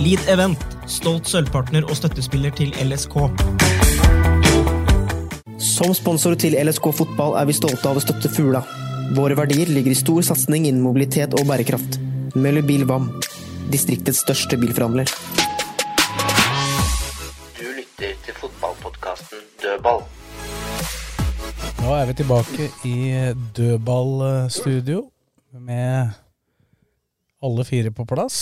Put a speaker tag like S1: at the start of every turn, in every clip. S1: Lead Event, stolt sølvpartner og støttespiller til LSK.
S2: Som sponsor til LSK fotball er vi stolte av å støtte Fugla. Våre verdier ligger i stor satsing innen mobilitet og bærekraft. Møller Bil VAM, distriktets største bilforhandler.
S3: Du lytter til fotballpodkasten Dødball.
S4: Nå er vi tilbake i dødballstudio med alle fire på plass.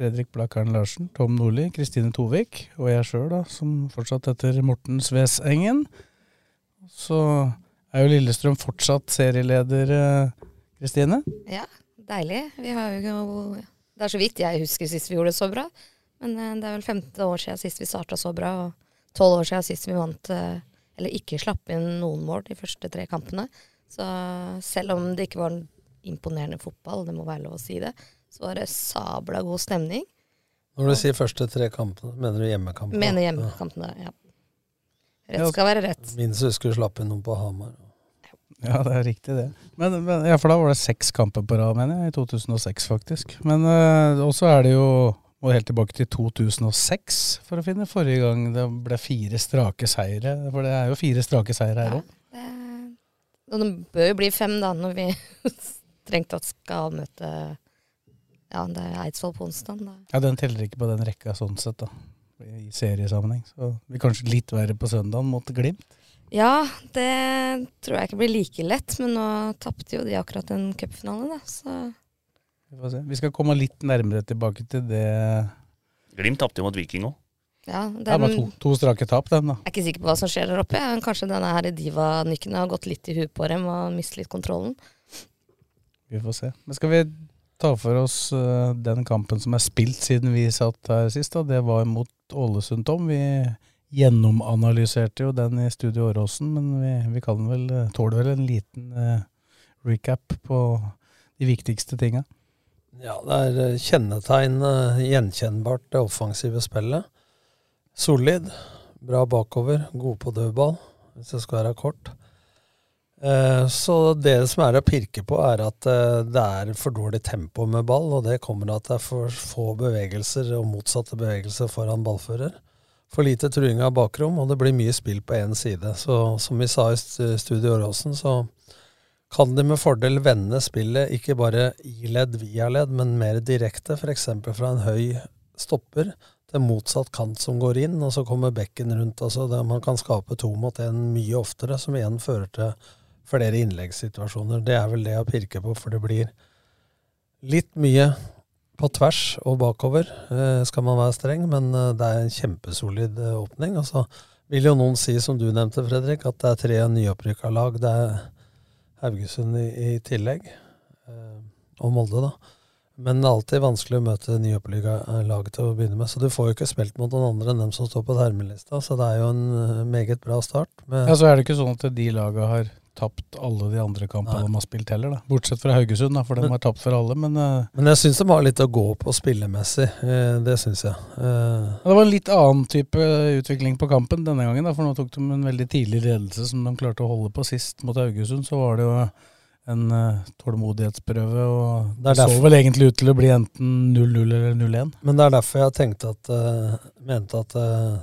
S4: Fredrik Blakkaren Larsen, Tom Nordli, Kristine Tovik og jeg sjøl, da, som fortsatt heter Morten Svesengen. Så er jo Lillestrøm fortsatt serieleder, eh, Kristine.
S5: Ja, deilig. Vi har jo ikke- Det er så vidt jeg husker sist vi gjorde det så bra. Men eh, det er vel femte år siden sist vi starta så bra, og tolv år siden sist vi vant eh, Eller ikke slapp inn noen mål de første tre kampene. Så selv om det ikke var en imponerende fotball, det må være lov å si det, så var det sabla god stemning.
S6: Når du sier første tre kampene, mener du hjemmekampene?
S5: Mener hjemmekampene, ja. Rett skal være rett.
S6: Minst husker du slapp inn noen på Hamar.
S4: Ja, det er riktig, det. Men, men, ja, For da var det seks kamper på rad, mener jeg. I 2006, faktisk. Men eh, også er det jo må helt tilbake til 2006 for å finne forrige gang det ble fire strake seire. For det er jo fire strake seire her
S5: Ja.
S4: òg.
S5: Det- Eh, Og det bør jo bli fem, da, når vi strengt tatt skal møte ja, det er Eidsvoll på onsdag. Da.
S4: Ja, den teller ikke på den rekka sånn sett, da. I seriesammenheng. Så vi er kanskje litt verre på søndagen mot Glimt.
S5: Ja, det tror jeg ikke blir like lett, men nå tapte jo de akkurat en cupfinale, da. Så
S4: Vi får se. Vi skal komme litt nærmere tilbake til det.
S3: Glimt tapte jo mot Viking òg.
S5: ja,
S4: Det er
S5: den,
S4: bare to, to strake tap, dem, da.
S5: jeg er ikke sikker på hva som skjer der oppe. Ja. Kanskje denne her divanykken har gått litt i huet på dem og mistet litt kontrollen.
S4: Vi får se. Men skal vi ta for oss eh, den kampen som er spilt siden vi satt her sist? da? Det var mot Ålesund, Tom. Vi gjennomanalyserte jo den i Studio Åråsen, men vi, vi kan vel eh, tåler vel en liten eh, recap på de viktigste tinga.
S6: Ja, det er eh, kjennetegn eh, gjenkjennbart det offensive spillet. Solid, bra bakover, god på dødball, hvis det skal være kort. Eh, Så det som er å pirke på, er at eh, det er for dårlig tempo med ball, og det kommer av at det er for få bevegelser og motsatte bevegelser foran ballfører. For lite truing av bakrom, og det blir mye spill på én side. Så som vi sa i st- Studio Åråsen, så kan de med fordel vende spillet ikke bare i ledd via ledd, men mer direkte, f.eks. fra en høy stopper til motsatt kant som går inn, og så kommer bekken rundt. Altså det, man kan skape to mot én mye oftere, som igjen fører til flere innleggssituasjoner. Det er vel det jeg pirker på, for det blir litt mye på tvers og bakover, eh, skal man være streng, men eh, det er en kjempesolid eh, åpning. Og så vil jo noen si, som du nevnte, Fredrik, at det er tre nyopprykka lag. Det er Haugesund i, i tillegg. eh, Og Molde, da. Men det er alltid vanskelig å møte nyopplykka eh, lag til å begynne med. Så du får jo ikke spilt mot noen andre enn dem som står på termelista, så det er jo en eh, meget bra start. Med,
S4: Ja, Så er det ikke sånn at de laga har tapt alle de andre kampene
S6: Nei.
S4: de har spilt heller, da. Bortsett fra Haugesund, da, for de
S6: Men-
S4: har tapt for alle. Men eh,
S6: Men jeg syns de har litt å gå på spillemessig. eh, Det syns jeg. Eh,
S4: Ja, Det var en litt annen type utvikling på kampen denne gangen, da, for nå tok de en veldig tidlig ledelse som de klarte å holde på sist mot Haugesund. Så var det jo en eh, tålmodighetsprøve, og
S6: Det er
S4: det så
S6: derfor-
S4: vel egentlig ut til å bli enten 0-0 eller 0-1.
S6: Men det er derfor jeg tenkte at, eh, mente at eh,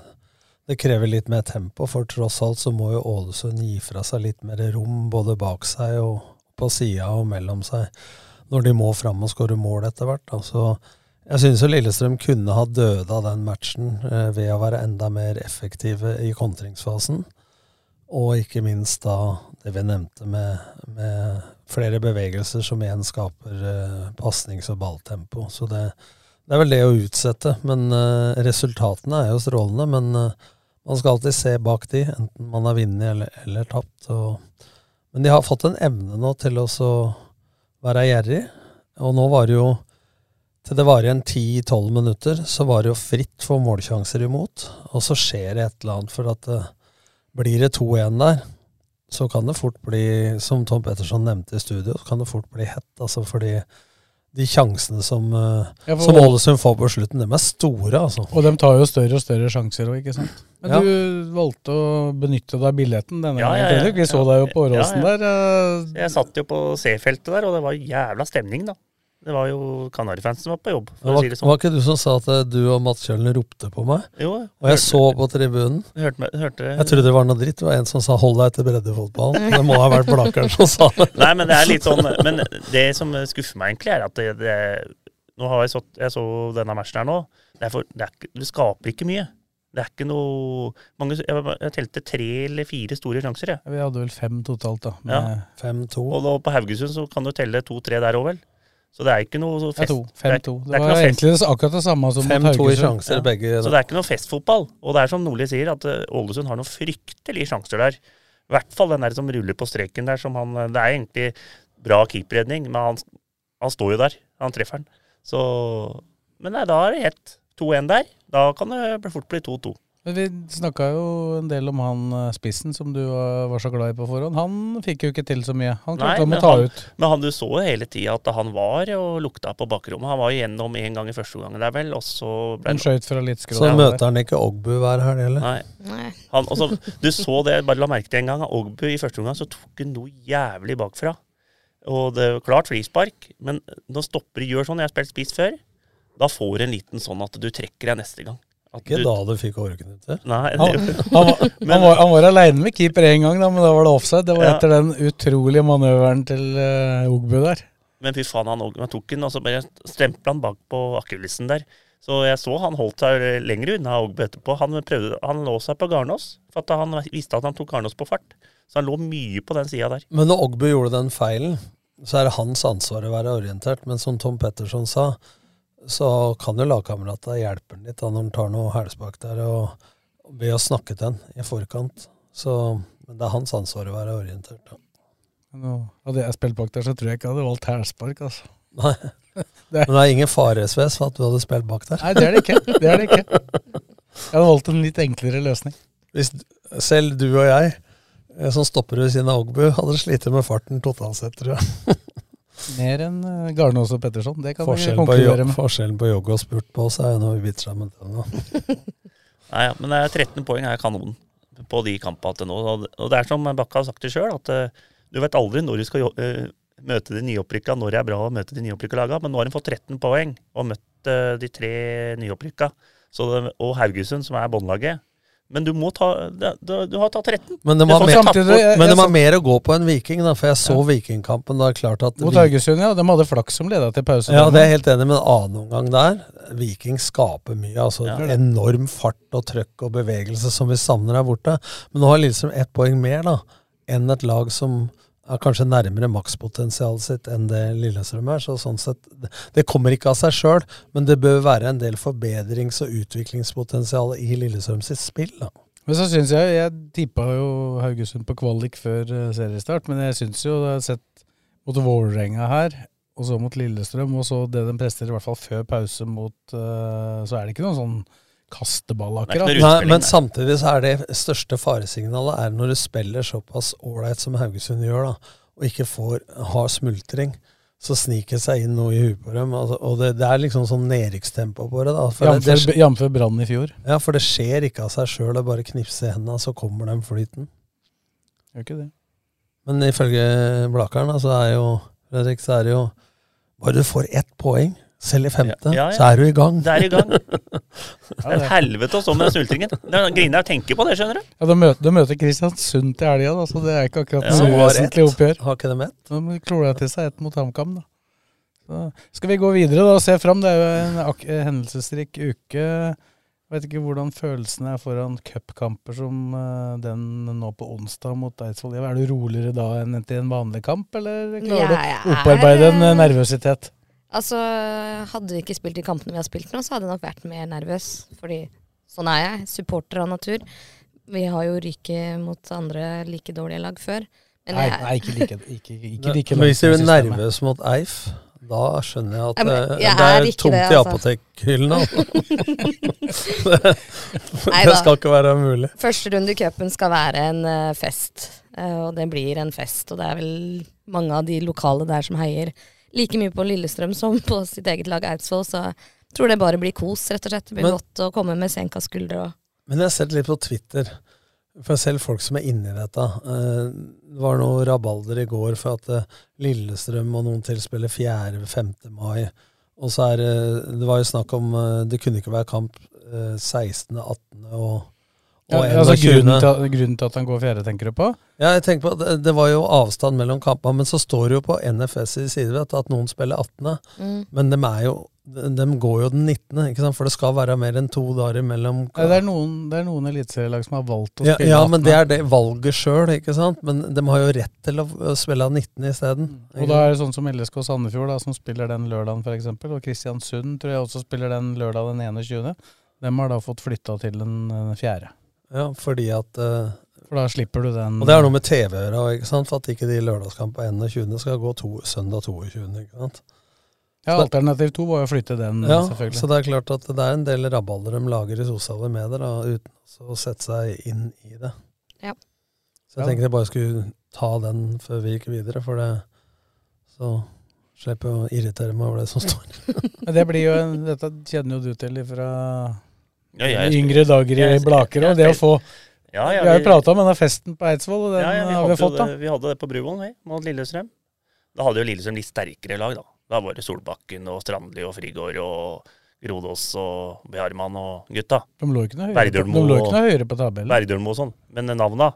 S6: det krever litt mer tempo, for tross alt så må jo Ålesund gi fra seg litt mer rom både bak seg og på sida og mellom seg når de må fram og skåre mål etter hvert. da. Så jeg syns jo Lillestrøm kunne ha døda den matchen eh, ved å være enda mer effektive i kontringsfasen. Og ikke minst da det vi nevnte med, med flere bevegelser som igjen skaper eh, pasnings- og balltempo. Så det, det er vel det å utsette. Men eh, resultatene er jo strålende. Men eh, man skal alltid se bak de, enten man har vunnet eller, eller tapt. Og, men de har fått en evne nå til å så være gjerrig. Og nå var det jo til det var igjen 10-12 minutter, så var det jo fritt for målsjanser imot. Og så skjer det et eller annet, for at eh, blir det 2-1 der, så kan det fort bli, som Tom Petterson nevnte i studio, så kan det fort bli hett. Altså fordi de sjansene som, eh,
S4: Ja, for-
S6: som Ålesund får på slutten, dem er store, altså.
S4: Og de tar jo større og større sjanser òg, ikke sant. Men
S6: Ja.
S4: du valgte å benytte deg av billetten denne
S7: Ja, ja,
S4: gangen,
S7: ja.
S4: Fredrik. Vi så deg jo på
S7: Ja,
S4: Åråsen
S7: ja.
S4: der. eh,
S7: Jeg satt jo på C-feltet der, og det var jævla stemning, da. Det var jo Kanarifansen som var på jobb, for
S6: Det
S7: å
S6: var,
S7: si det sånn.
S6: var ikke du som sa at eh, du og Mats Kjølen ropte på meg?
S7: Jo, jeg
S6: og jeg
S7: hørte-
S6: så på tribunen.
S7: Jeg hørte meg- hørte-
S6: Jeg trodde det var noe dritt. Det var en som sa 'hold deg til breddefotballen'. Det må ha vært Blakeren som sa det.
S7: Nei, men det er litt sånn Men det som skuffer meg egentlig, er at det, det Nå har jeg så, jeg så denne matchen her nå. Det, er for, det, er, ikke- det skaper ikke mye. Det er ikke noe mange, jeg, jeg telte tre eller fire store sjanser, jeg.
S4: Vi hadde vel fem totalt, da.
S7: Ja.
S4: med-
S7: Og da, på Haugesund så kan du telle to-tre der òg, vel. Så det er ikke noe så
S4: Ja,
S7: fest.
S4: to.
S7: det er-
S4: 5-2. Det,
S7: det er ikke
S4: var
S7: noe fest.
S4: egentlig akkurat det samme som mot Haugesund.
S7: Ja. Så det er ikke noe festfotball. Og det er som Nordli sier, at eh, Ålesund har noen fryktelige sjanser der. I hvert fall den der som ruller på streken der. Som han, det er egentlig bra keeperredning, men han, han står jo der. Han treffer den. Så, men nei, da er det hett. 2-1 der. Da kan det bli- fort bli 2-2.
S4: Men vi snakka jo en del om han eh, spissen som du eh, var var så glad i på forhånd. Han fikk jo ikke til så mye. Han klarte om å
S7: men
S4: ta
S7: han,
S4: ut.
S7: men han du så hele tida at han var og lukta på bakrommet. Han var igjennom én gang i første omgang der, vel, og så ble
S4: Han
S7: det-
S4: skjøt fra litt skrå.
S6: Så møter han ikke Ogbu hver helg, eller?
S7: Nei. Han, og så- du så det, bare la merke til en gang. Ogbu i første omgang så tok han noe jævlig bakfra. Og det var klart frispark, men når stoppere gjør sånn, jeg har spilt spiss før, da får du en liten sånn at du trekker deg neste gang. At
S6: Ikke
S7: du-
S6: da du fikk åreknute?
S7: Nei,
S4: Han, han, var, han, var, han var aleine med keeper én gang, da, men da var det offside. Det var
S7: Ja.
S4: etter den utrolige manøveren til uh, Ogbu der.
S7: Men fy faen, han, han tok den, og så bare stempla han bak på akkulissen der. Så jeg så han holdt seg lenger unna Ogbu etterpå. Han, prøvde, han lå seg på Garnås, for at han visste at han tok Garnås på fart. Så han lå mye på den sida der.
S6: Men når Ogbu gjorde den feilen, så er det hans ansvar å være orientert. Men som Tom Petterson sa, så kan jo lagkamerata hjelpe ham litt da, når han tar noe hælsbak der, og ved å snakke til ham i forkant. Så men det er hans ansvar å være orientert. da.
S4: Nå, hadde jeg spilt bak der, så tror jeg ikke jeg hadde valgt hælspark. Altså.
S6: Nei. Men det er ingen faresves for at du hadde spilt bak der.
S4: Nei, det er det ikke. Det er det ikke. Jeg hadde valgt en litt enklere løsning.
S6: Hvis selv du og jeg, eh, som stopper ved siden av Ogbu, hadde slitt med farten totalt sett, tror jeg.
S4: Mer enn eh, Garnås og Petterson. Det kan vi
S6: Forskjellen på, jo-
S4: konkludere med.
S6: forskjellen på jogge og spurt på oss er jo når vi biter sammen tenna.
S7: Nei, ja, men det er 13 poeng er kanon på de kampene til nå. Og det- Og det er som Bakke har sagt det sjøl, at eh, du vet aldri når du skal jo- eh, møte de nyopprykka, når det er bra å møte de nyopprykka laga. Men nå har de fått 13 poeng og møtt eh, de tre nyopprykka. Så det, og Haugesund, som er båndlaget. Men du må ta det- det- Du har tatt 13.
S6: Men de
S7: Du
S6: har,
S7: får
S6: mer,
S7: ikke tatt bort-
S6: men de har mer å gå på enn Viking, da, for jeg så Vikingkampen. Da er det klart at
S4: Mot
S6: Vi-
S4: Haugesund, ja. De hadde flaks som leda til pause.
S6: Ja, det er jeg helt enig med. Annen omgang der, Viking skaper mye. altså Enorm fart og trøkk og bevegelse som vi savner her borte. Men nå har Lillestrøm ett poeng mer da, enn et lag som er kanskje nærmere makspotensialet sitt enn det Lillestrøm er. så sånn sett, Det kommer ikke av seg sjøl, men det bør være en del forbedrings- og utviklingspotensial i Lillestrøm sitt spill. da.
S4: Men så syns jeg Jeg tippa jo Haugesund på kvalik før eh, seriestart, men jeg syns jo jeg har sett mot Vålerenga her, og så mot Lillestrøm, og så det de presterer, i hvert fall før pause mot eh, Så er det ikke noen sånn kasteball, akkurat.
S6: Nei, men samtidig så er det største faresignalet er når du spiller såpass ålreit som Haugesund gjør, da, og ikke får, har smultring. Så sniker det seg inn noe i huet på dem. Altså, og det, det er liksom sånn nedrykkstempo på det. da. For det,
S4: Jamfør,
S6: det,
S4: jamfør Brann i fjor.
S6: ja, for det skjer ikke av seg sjøl. Det er bare å knipse i henda, så kommer den flyten.
S4: Gjør ikke det.
S6: Men ifølge Blakeren da, så er jo Fredrik, så er det jo bare du får ett poeng Selv i femte,
S7: Ja, ja.
S6: så er du i gang.
S7: Det er i gang. Det er et helvete å stå med den snultringen. Grinar tenker på det, skjønner du.
S4: Ja, de, møter, de møter Kristiansund til helga, da, så det er ikke akkurat
S7: Ja,
S4: noe
S7: har
S4: vesentlig
S7: ett.
S4: oppgjør.
S6: Har ikke de ett?
S4: De klora til seg ett mot HamKam, da. Så, skal vi gå videre da og se fram? Det er jo en ak hendelsesrik uke. Vet ikke hvordan følelsene er foran cupkamper som eh, den nå på onsdag mot Eidsvoll. Ja, Er du roligere da enn til en vanlig kamp, eller klarer
S5: Jeg
S4: du å
S5: er-
S4: opparbeide en eh, nervøsitet?
S5: Altså, hadde vi ikke spilt de kampene vi har spilt nå, så hadde jeg nok vært mer nervøs. Fordi sånn er jeg. Supporter av natur. Vi har jo ryket mot andre like dårlige lag før. Men
S4: Nei,
S5: jeg-
S4: nei, ikke like, ikke, ikke
S6: Men Hvis du er
S4: like langt med systemet.
S6: nervøs mot Eif, da skjønner jeg at
S5: Ja, men
S6: eh,
S5: jeg
S6: det
S5: er
S6: er,
S5: ikke
S6: tomt i
S5: det, altså.
S6: apotekhyllene. det,
S5: Neida.
S6: det skal ikke være mulig.
S5: Første runde i cupen skal være en eh, fest, Eh, og det blir en fest. Og det er vel mange av de lokale der som heier like mye på Lillestrøm som på sitt eget lag Eidsvoll, så jeg tror det bare blir kos, rett og slett. Det blir
S6: Men-
S5: godt å komme med senka skuldre og
S6: Men jeg har sett litt på Twitter, for selv folk som er inni dette eh, Det var noe rabalder i går for at eh, Lillestrøm og noen til spiller 4.-5. mai. Og så er det Det var jo snakk om eh, Det kunne ikke være kamp eh, 16., 18. og,
S4: Ja,
S6: og
S4: altså,
S6: 21..
S4: grunnen, til, at- grunnen til at han går fjerde, tenker du på?
S6: Ja, jeg tenker på at det- Det var jo avstand mellom kampene, men så står det jo på NFS i sidevett at noen spiller 18.,
S4: Mm.
S6: men dem er jo de går jo den 19., ikke sant? for det skal være mer enn to dager imellom.
S4: Nei, det er noen, det er noen eliteserielag som har valgt å
S6: Ja,
S4: spille
S6: ja,
S4: 18.
S6: men det er det valget sjøl, ikke sant? Men de har jo rett til å å spille 19 isteden.
S4: Og da er det sånn som LSK Sandefjord, da, som spiller den lørdagen f.eks. Og Kristiansund tror jeg også spiller den lørdag den 21. Dem har da fått flytta til den eh, fjerde.
S6: Ja, fordi at eh,
S4: For da slipper du den
S6: Og det er noe med TV å gjøre, ikke sant? for at ikke de lørdagskampene 21. skal gå to, søndag 22. ikke sant?
S4: Ja,
S6: Så-
S4: Alternativ to var jo å flytte den,
S7: Mm,
S6: Ja,
S4: selvfølgelig.
S6: så det er klart at det er en del rabalder de lager i sosiale medier, da, uten også å sette seg inn i det.
S5: Ja.
S6: Så jeg
S4: Ja.
S6: tenkte jeg bare skulle ta den før vi gikk videre, for det så slipper jeg å irritere meg over det som står.
S4: Men det blir jo en, Dette kjenner jo du til fra
S7: Ja, jeg
S4: yngre
S7: spiller-
S4: dager i
S7: jeg-
S4: Blaker.
S7: jeg
S4: Og det å få
S7: Ja, ja,
S4: Vi har jo
S7: vi-
S4: prata om denne festen på Eidsvoll, og den
S7: Ja, ja, vi,
S4: har
S7: hadde
S4: vi fått,
S7: jo
S4: da.
S7: det, vi hadde det på Bruvollen, vi, mot Lillestrøm. Da hadde jo Lillestrøm litt sterkere lag, da. Da var det Solbakken og Strandli og Frigård og Grodås og Beharman og gutta.
S4: De lå ikke noe høyere, på-
S7: Verdølmo
S4: de lå ikke noe
S7: og-
S4: høyere på tabellen.
S7: Verdølmo og sånn. Men navna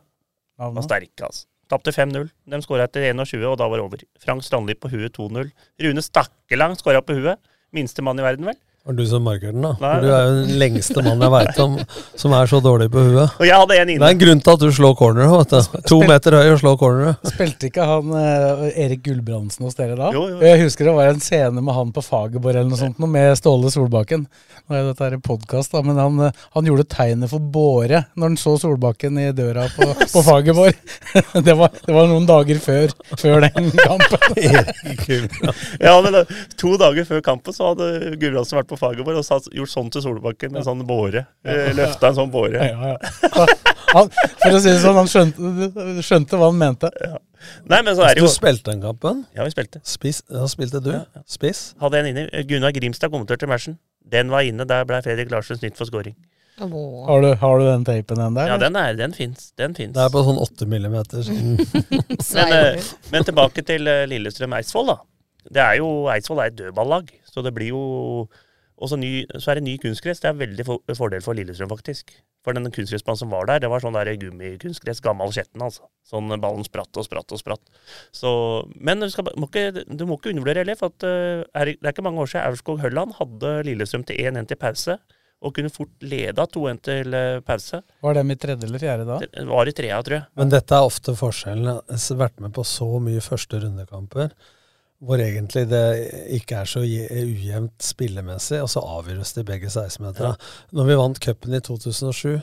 S4: Navna.
S7: var sterke, altså. Tapte 5-0. De skåra etter 21, og da var det over. Frank Strandli på huet 2-0. Rune Stakkelang skåra på huet. Minste mann i verden, vel.
S6: Var du som markerer den, da?
S7: Nei.
S6: For du er jo den lengste mannen jeg veit om som er så dårlig på huet.
S7: Og jeg hadde en
S6: Det
S7: inne.
S6: er en grunn til at du slår cornere, vet du. To meter høy og slår cornere.
S4: Spilte ikke han eh, Erik Gulbrandsen hos dere da?
S7: Jo, jo.
S4: Jeg husker det var en scene med han på Fagerborg eller noe sånt, noe med Ståle Solbakken. Nå er dette her i podcast da, men han, eh, han gjorde tegnet for båre når han så Solbakken i døra på, på Fagerborg. det, var, det var noen dager før, før den kampen.
S7: ja, men da, To dager før kampen så hadde Gudbrandsen vært på Fagerborg og satt, gjort sånn til Solbakken med en sånn båre. Eh, Løfta en sånn båre.
S4: Ja, ja. Han, for å si det sånn, han skjønte, skjønte hva han mente.
S7: Nei, men så er det jo
S6: Altså, Du spilte den kampen?
S7: Ja, vi spilte.
S6: Spiss, ja, spilte du? Spiss?
S7: Hadde en inne. Eh, Gunnar Grimstad kommenterte matchen. Den var inne. Der ble Fredrik Larsen snytt for scoring.
S4: Har du, har du den tapen den der?
S7: Ja, den, er, den fins. Den fins.
S6: Det er på sånn 8 millimeter.
S7: Men, eh, men tilbake til eh, Lillestrøm Eidsvoll, da. Det er jo, Eidsvoll er et dødballag, så det blir jo Og så ny- så er det ny kunstgress. Det er veldig for, fordel for Lillestrøm, faktisk. For den kunstgressbanen som var der, det var sånn der gummikunstgress, gammel skjetten, altså. Sånn ballen spratt og spratt og spratt. Så, men du, skal, må ikke, du må ikke undervurdere heller, for at, eh, er, det er ikke mange år siden Aurskog Hølland hadde Lillestrøm til 1-1 til pause, og kunne fort leda 2-1 til eh, pause.
S4: Var den i tredje eller fjerde da?
S7: Det var i trea, tror jeg.
S6: Men dette er ofte forskjellen. Jeg har vært med på så mye første rundekamper hvor egentlig det ikke er så je- ujevnt spillemessig, og så avgjøres det i begge 16-meterne. Når vi vant cupen i 2007,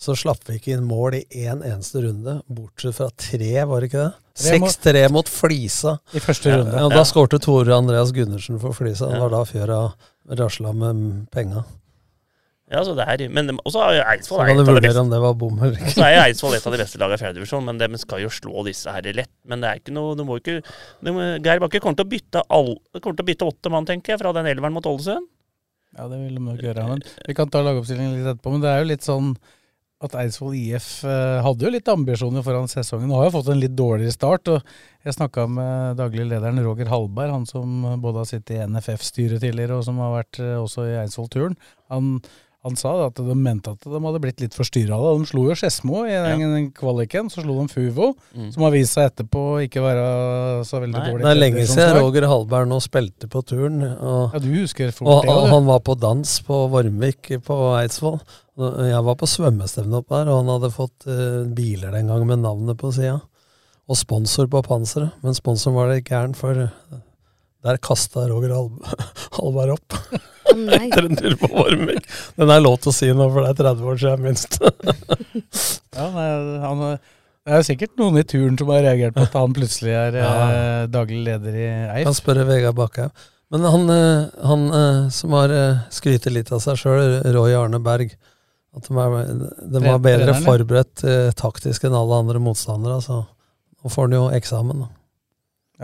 S6: så slapp vi ikke inn mål i én eneste runde, bortsett fra tre, var det ikke det?
S4: Tre mot-
S6: 6-3 mot Flisa.
S4: I første runde.
S6: Ja, og
S4: Ja.
S6: da skårte Tore Andreas Gundersen for Flisa. Det
S7: Ja.
S6: var da fjøra rasla med penga.
S7: Ja, så det er, men og så er jo
S6: Så
S7: Eidsvoll er
S6: kan du
S7: et av de
S6: vurdere
S7: beste.
S6: om det var bom eller
S7: Så
S6: ikke.
S7: er jo Eidsvoll et av de beste lagene i fjerdedivisjon, men de skal jo slå disse her lett. Men det er ikke noe, du må ikke du må, Geir Bakke kommer til å bytte all, kommer til å bytte åtte mann, tenker jeg, fra den elveren mot Ålesund.
S4: Ja, det vil de nok gjøre. Men vi kan ta lagoppstillingen litt etterpå. Men det er jo litt sånn at Eidsvoll IF eh, hadde jo litt ambisjoner foran sesongen. og har jo fått en litt dårligere start. og Jeg snakka med daglig lederen Roger Hallberg, han som både har sittet i NFF-styret tidligere og som har vært eh, også i Eidsvoll-turen. Han, han sa da at de mente at de hadde blitt litt forstyrra av det. De slo jo Skedsmo i den den kvaliken, så slo de Fuvo,
S7: Mm.
S4: som har vist seg etterpå å ikke være så veldig
S6: Nei,
S4: dårlig.
S6: det er lenge
S4: som
S6: siden
S4: lag.
S6: Roger Hallberg nå spilte på turn. Og,
S4: Ja, du husker fort
S6: og,
S4: det, ja,
S6: og
S4: du.
S6: han var på dans på Vormvik på Eidsvoll. Og Jeg var på svømmestevne oppe der, og han hadde fått eh, biler den gang med navnet på sida. Og sponsor på panseret. Men sponsoren var det ikke gæren, for eh, der kasta Roger Hall- Hallberg opp.
S5: nei.
S6: Etter en tur på Vormvik. Den er lov til å si nå, for det er 30 år siden minst.
S4: Ja, nei, han, det er jo sikkert noen i turen som har reagert på at han plutselig er eh, daglig leder i Eif.
S6: Kan spørre Vegard Bakhaug. Men han, eh, han eh, som har eh, skrytet litt av seg sjøl, Roy Arne Berg At de, er, de var
S4: Tre-
S6: bedre
S4: treneren, ja.
S6: forberedt eh, taktisk enn alle andre motstandere. Så nå får han jo eksamen. Da.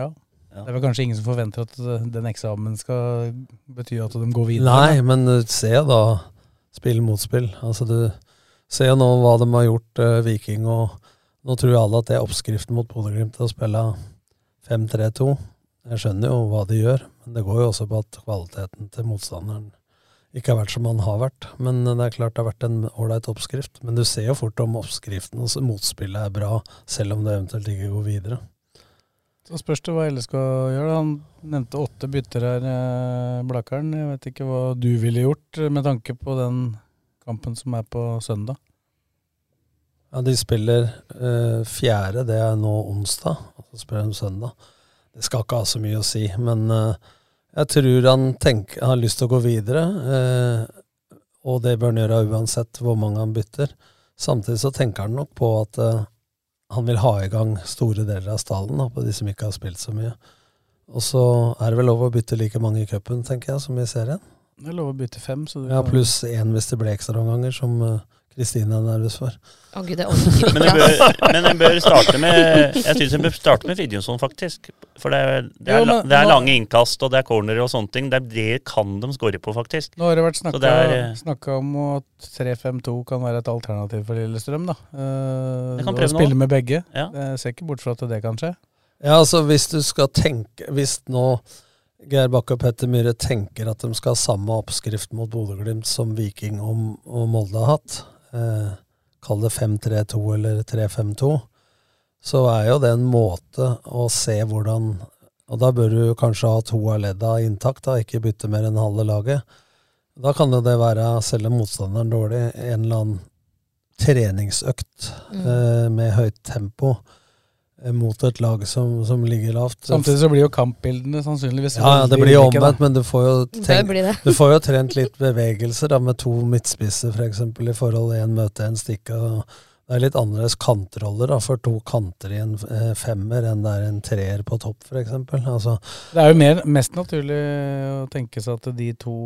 S4: Ja. Det er vel kanskje ingen som forventer at eh, den eksamen skal bety at de går videre.
S6: Nei, men du ser jo da spill mot spill. Altså du ser jo nå hva de har gjort, eh, Viking, og nå tror jo alle at det er oppskriften mot Bodø-Glimt til å spille 5-3-2. Jeg skjønner jo hva de gjør, men det går jo også på at kvaliteten til motstanderen ikke har vært som han har vært. Men eh, det er klart det har vært en ålreit oppskrift. Men du ser jo fort om oppskriften og motspillet er bra, selv om det eventuelt ikke går videre.
S4: Så spørs det hva LSK gjør. da. Han nevnte åtte bytter her, eh, Blakkaren. Jeg vet ikke hva du ville gjort eh, med tanke på den kampen som er på søndag.
S6: Ja, de spiller eh, fjerde, det er nå onsdag, og så spiller de søndag. Det skal ikke ha så mye å si, men eh, jeg tror han tenk- har lyst til å gå videre. eh, og det bør han gjøre uansett hvor mange han bytter. Samtidig så tenker han nok på at eh, han vil ha i gang store deler av stallen da, på de som ikke har spilt så mye. Og så er det vel lov å bytte like mange i cupen, tenker jeg, som i serien.
S4: Det er lov å bytte fem. Så du
S6: Ja,
S4: kan-
S6: pluss én hvis det blir ekstraomganger, som Kristine er nervøs for.
S5: Å gud, det orker
S7: Men en bør, men en bør starte med Jeg syns en bør starte med Fridtjonsson, faktisk. For det er, det, er,
S4: Jo,
S7: la-
S4: men
S7: det er
S4: nå-
S7: lange innkast, og det er corner og sånne ting. Det, er det kan de score på, faktisk.
S4: Nå har det vært
S7: Så
S4: snakka,
S7: det er, eh,
S4: snakka om at 3-5-2 kan være et alternativ for Lillestrøm. da. Eh,
S7: Jeg kan
S4: å
S7: prøve nå.
S4: spille med begge.
S7: Ja.
S4: Jeg ser ikke bort fra at det kan skje.
S6: Ja, altså hvis du skal tenke Hvis nå Geir Bakke og Petter Myhre tenker at de skal ha samme oppskrift mot Bodø-Glimt som Viking og, og Molde har hatt, eh, kall det 5-3-2 eller 3-5-2, så er jo det en måte å se hvordan Og da bør du kanskje ha to av ledda intakt, da, ikke bytte mer enn halve laget. Da kan jo det være, selv om motstanderen er dårlig, en eller annen treningsøkt
S4: Mm.
S6: eh, med høyt tempo eh, mot et lag som, som ligger lavt.
S4: Samtidig så blir jo kampbildene sannsynligvis
S6: Ja, ja, det
S4: veldig
S6: blir jo
S4: ulike, da.
S6: omvendt, men du får jo,
S5: Det
S6: tenk,
S5: blir det.
S6: du får jo trent litt bevegelser da, med to midtspisser for eksempel, i forhold én møte, én stikke. og Det er litt annerledes kantroller da, for to kanter i en eh, femmer enn det er en treer på topp, for eksempel. Altså,
S4: Det er jo mer, mest naturlig å tenke seg at de to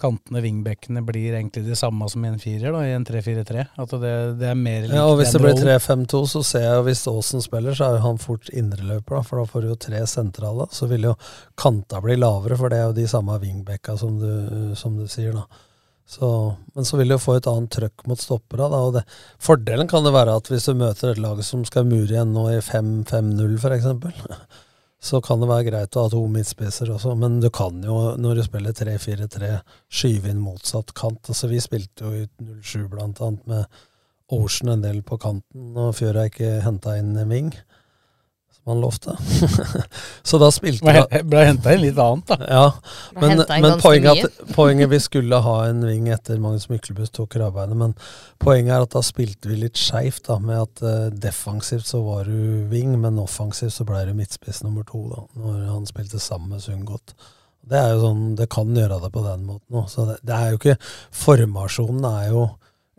S4: kantene, vingbekkene, blir egentlig de samme som i en firer, da, i en 3-4-3. At det, det er mer likt
S6: ja, og hvis
S4: den
S6: det blir
S4: rollen.
S6: 3-5-2, så ser jeg jo hvis Aasen spiller, så er jo han fort indreløper, da, for da får du jo tre sentrale. Så vil jo kanta bli lavere, for det er jo de samme wingbacka som, du- som du sier, da. Så, men så vil du jo få et annet trøkk mot stoppera, da. Og det, fordelen kan det være at hvis du møter et lag som skal mure igjen nå i 5-5-0, f.eks., så kan det være greit å ha to midtspisser også, men du kan jo, når du spiller 3-4-3, skyve inn motsatt kant. Altså, vi spilte jo ut 0-7 blant annet med Ocean en del på kanten, og Fjøra ikke henta inn en Ving, som han lovte. så da spilte
S4: Ble- ble hentet inn litt annet, da.
S6: Ja,
S4: Ble
S6: men,
S4: hentet inn
S6: men
S4: ganske
S6: poenget, at,
S4: mye.
S6: poenget vi skulle ha en Ving etter Magnus Myklebust tok rabeinet, men poenget er at da spilte vi litt skeivt, da, med at eh, defensivt så var du Ving, men offensivt så ble du midtspiss nummer to, da, når han spilte sammen med Sundgodt. Det er jo sånn, det kan gjøre det på den måten òg. Så det, det er jo ikke Formasjonen er jo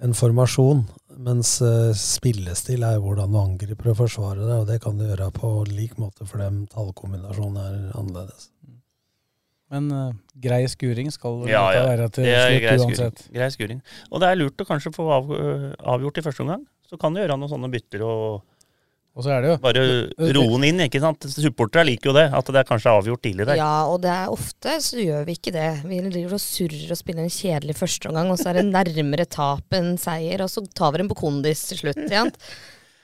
S6: en formasjon, mens eh, spillestil er jo hvordan du angriper og forsvarer deg, og det kan du gjøre på lik måte, for den tallkombinasjonen er annerledes.
S4: Men eh, grei skuring skal det
S7: Ja, ja.
S4: være til
S7: Det er grei
S4: slutt
S7: skuring.
S4: uansett.
S7: grei skuring. eh, Og det er lurt å kanskje få av, øh, avgjort i første omgang. Så kan du gjøre noen sånne bytter og
S4: Og så er det jo
S7: Bare roe den inn, ikke sant. Supportere liker jo det. At det er kanskje avgjort tidlig der.
S5: Ja, og det er ofte så gjør vi ikke det. Vi driver og surrer og spiller en kjedelig førsteomgang, og så er det nærmere tap enn seier, og så tar vi den på kondis til slutt. Ikke sant?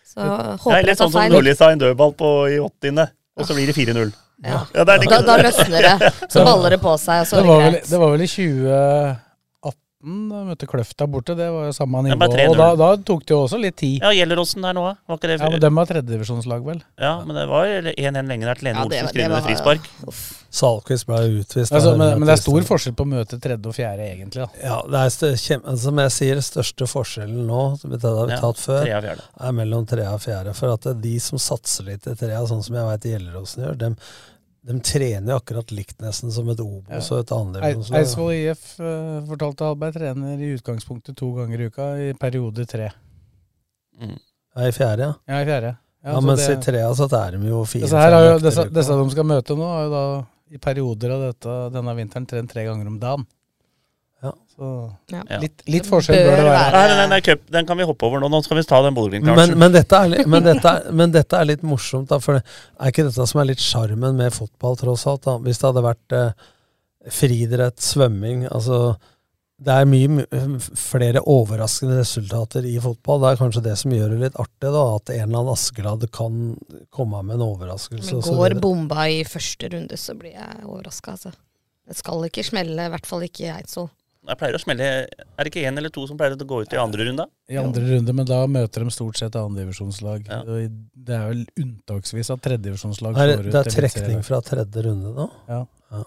S5: Så
S7: det
S5: håper
S7: er
S5: jeg
S7: litt
S5: tar
S7: sånn som
S5: feil.
S7: Nordli sa, en dødball på, i åttiende, og så blir det 4-0. Ja,
S5: Ja.
S7: det er det
S5: da,
S7: ikke-
S5: da løsner det. Så baller det på seg, og så
S4: det,
S5: er det
S4: var vel,
S5: greit.
S4: det var vel i 2018 da møtte Kløfta borte. Det var jo samme
S7: Det
S4: nivå.
S7: var 3-0.
S4: Og da, da tok det jo også litt tid.
S7: Ja, Gjelleråsen der nå, da? var ikke det
S4: Ja, men Dem har tredjedivisjonslag, vel?
S7: Ja, men det var 1-1 lenge der til Lene
S5: Ja, det-
S7: Olsen
S5: det
S7: skrev ned
S5: var-
S7: frispark.
S6: Salquist ble utvist.
S4: Altså,
S6: av
S4: men, men
S6: Helleland.
S4: det er stor forskjell på å møte tredje og fjerde, egentlig. da.
S6: Ja, det er stø- kjem, som jeg sier, største forskjellen nå, det har vi
S4: Ja,
S6: tatt før,
S4: tre av fjerde.
S6: er mellom tre og fjerde. For at det er de som satser litt i trea, sånn som jeg veit Gjelleråsen gjør, dem, dem trener jo akkurat likt nesten som et Obos og et
S4: Ei-
S6: andredivisjonslag.
S4: Eidsvoll IF eh, fortalte Hallberg trener i utgangspunktet to ganger i uka, i periode tre.
S6: Ja, i fjerde, ja.
S4: Ja, i fjerde.
S6: Ja,
S4: så
S6: mens
S4: det-
S6: i trea så er de jo fire.
S4: Disse, her har jo,
S6: fem
S4: disse,
S6: økter i uka.
S4: disse de skal møte nå, har jo da i perioder av dette, denne vinteren trent tre ganger om dagen. Så
S7: Ja.
S4: litt, litt forskjell bør det være.
S7: Nei, nei, nei, nei, cup, den kan vi hoppe over nå. Nå skal vi ta den Bodø-Glimt-matchen.
S6: Men, men, dette er, li- men, dette er, men dette er litt morsomt, da, for det er ikke dette som er litt sjarmen med fotball, tross alt. Da. Hvis det hadde vært eh, friidrett, svømming altså, Det er mye m- flere overraskende resultater i fotball. Det er kanskje det som gjør det litt artig, da, at en eller annen Askeladd kan komme med en overraskelse.
S5: Men
S6: og så
S5: går
S6: videre.
S5: bomba i første runde, så blir jeg overraska, altså. Det skal ikke smelle, i hvert fall ikke i Eidsvoll.
S7: Jeg pleier å smelle Er det ikke én eller to som pleier å gå ut i andre runde?
S4: I andre runde, men da møter de stort sett andredivisjonslag. Og Det er vel unntaksvis at
S6: Er
S4: tredjedivisjonslag slår
S6: det-
S4: ut.
S6: det er
S4: eliteserielag.
S6: trekning fra tredje runde nå?
S4: Ja.
S6: Ja.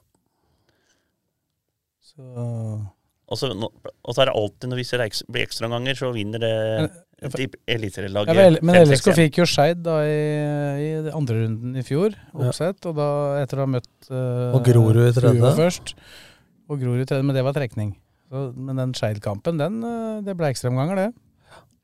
S4: Så
S7: Og så Altså, nå- og så er det alltid når vi ser eks- blir ekstraomganger, så vinner det de- eliteserielaget.
S4: Ja, vel, men
S7: 5-6-1.
S4: LSK fikk jo Skeid da i, i den andre runden i fjor, oppsett, og da etter å ha møtt eh,
S6: Og Grorud i tredje.
S4: Grorud først. Og Grorud i tredje, men det var trekning. Så, men den Skeid-kampen, den, eh, det ble ekstraomganger, det.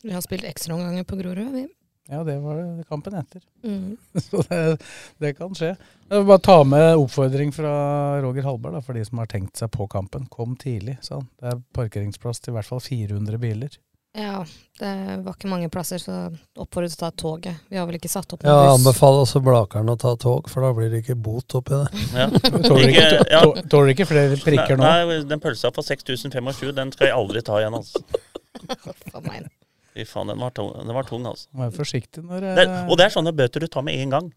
S5: Vi har spilt ekstraomganger på Grorud, vi.
S4: Ja, det var det kampen etter.
S5: Mm.
S4: Så det, det kan skje. Jeg vil bare ta med oppfordring fra Roger Hallberg da, for de som har tenkt seg på kampen. Kom tidlig, sa han. Det er parkeringsplass til i hvert fall 400 biler.
S5: Ja, det var ikke mange plasser, så oppfordret til å ta toget. Vi har vel ikke satt opp
S6: Ja,
S5: noen buss.
S6: anbefaler også Blakeren å ta tog, for da blir det ikke bot oppi det.
S7: Ja.
S4: Tåler ikke, tå- tåler ikke flere prikker nå.
S7: Nei, nei, den pølsa på 6025, den skal jeg aldri ta igjen, altså. Fy faen, den var tung, den var tung altså.
S4: Vær forsiktig når eh,
S7: Det er, og det er sånne bøter du tar med en gang.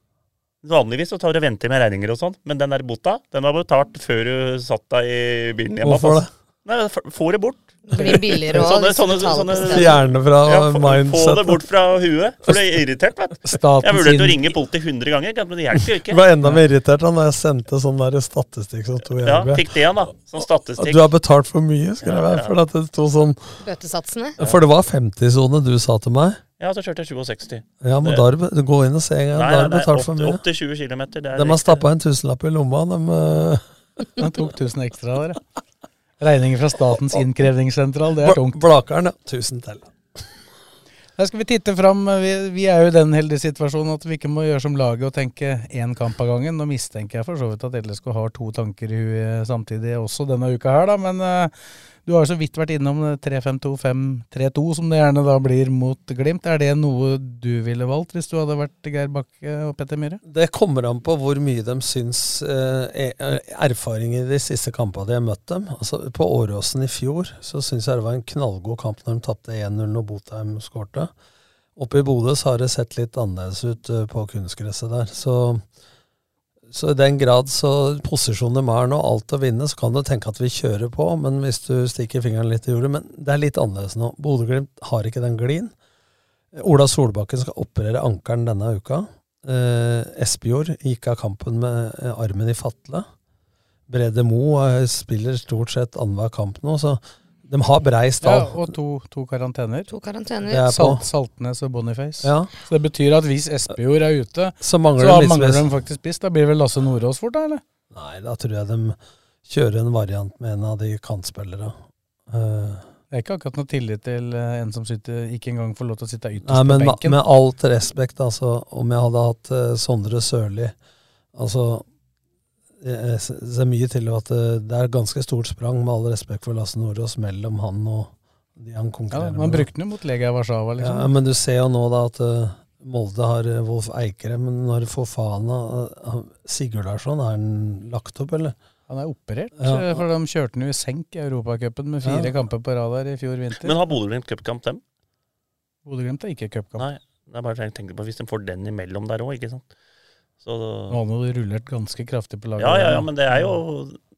S7: Vanligvis så tar du og venter med regninger og sånn, men den der bota, den var betalt før du satt deg i bilen hjemme.
S6: Hvorfor det?
S7: Nei, f- få det bort.
S5: Det blir billigere å
S7: Sånne-
S5: liksom
S7: sånne-
S5: betale på
S7: sånne-
S5: stedet.
S6: Fjerne fra
S7: Ja, få- Få det
S6: mindsetet.
S7: bort fra huet, for du er irritert, vet du.
S6: Staten
S7: Jeg vurderte å
S6: sin-
S7: ringe politiet 100 ganger, men det hjelper jo
S6: Jeg
S7: ikke.
S6: ble enda mer irritert da når jeg sendte sånn der statistikk som sto i
S7: Ja,
S6: helga.
S7: fikk det igjen, da. Sånn statistikk.
S6: At du har betalt for mye, skrev
S7: Ja,
S6: jeg.
S7: ja.
S6: For at det sto sånn
S5: Bøtesatsene.
S6: For det var 50-sone du sa til meg.
S7: Ja, så kjørte jeg 67.
S6: Ja, men da har du be- gå inn og se en gang. Da har du betalt for mye.
S7: Opptil 20 km. Det er
S6: De har stappa en tusenlapp i lomma, de eh,
S4: Han tok 1000 ekstra der, ja. Regninger fra Statens innkrevingssentral, det er tungt.
S6: Blakeren, ja. Tusen til.
S4: Der skal vi titte fram. Vi, vi er jo i den heldige situasjonen at vi ikke må gjøre som laget og tenke én kamp av gangen. Nå mistenker jeg for så vidt at LSK har to tanker i huet samtidig også denne uka her, da. Men eh, du har jo så vidt vært innom eh, 3-5-2-5-3-2, som det gjerne da blir mot Glimt. Er det noe du ville valgt hvis du hadde vært Geir Bakke og Petter Myhre?
S6: Det kommer an på hvor mye de syns eh, er- erfaringer i de siste kampene de har møtt dem. Altså, på Åråsen i fjor så syns jeg det var en knallgod kamp når de tapte 1-0 og Botheim skårte. Oppe i Bodø så har det sett litt annerledes ut eh, på kunstgresset der. Så, så i den grad så posisjonen de er nå, alt å vinne, så kan du tenke at vi kjører på, men hvis du stikker fingeren litt i hjulet Men det er litt annerledes nå. Bodø-Glimt har ikke den glien. Ola Solbakken skal operere ankelen denne uka. Eh, Espejord gikk av kampen med eh, armen i fatle. Brede Mo eh, spiller stort sett annenhver kamp nå, så de har brei
S4: Ja,
S6: stall.
S4: og to, to karantener.
S5: To karantener.
S6: Det er på.
S4: Salt, Saltnes og Boniface.
S6: Ja.
S4: Så det betyr at hvis Espejord er ute,
S6: Så mangler
S4: så
S6: de litt
S4: mangler
S6: spiss.
S4: de faktisk spiss. Da blir det vel Lasse Nordås fort, da? eller?
S6: Nei, da tror jeg de kjører en variant med en av de kantspillerne. Eh,
S4: Det er ikke akkurat noe tillit til eh, en som sitter, ikke engang får lov til å sitte ytterst
S6: Nei, men
S4: på
S6: ma-
S4: benken.
S6: med alt respekt, altså, om jeg hadde hatt eh, Sondre Sørli Altså, jeg, jeg ser mye til at eh, det er ganske stort sprang, med all respekt for Lasse Nordås, mellom han og de han
S4: ja,
S6: konkurrerer
S4: man brukte den jo mot Legia Warszawa, liksom.
S6: Ja, men du ser jo nå da at eh, Molde har eh, Wolf Eikere, men når Fofana eh, han- Sigurd Larsson, er han lagt opp, eller?
S4: Han er operert, eh,
S6: Ja.
S4: for de kjørte han jo i senk i Europacupen med fire
S6: Ja.
S4: kamper på rad her i fjor vinter.
S7: Men har Bodø-Glimt cupkamp, dem?
S4: Bodø-Glimt er ikke cupkamp.
S7: Nei. Det er bare jeg tenkte på, Hvis de får den imellom der òg, ikke sant. Så,
S4: Nå har han jo rullert ganske kraftig på laget.
S7: ja, ja,
S4: der,
S7: ja,
S4: da.
S7: men det er jo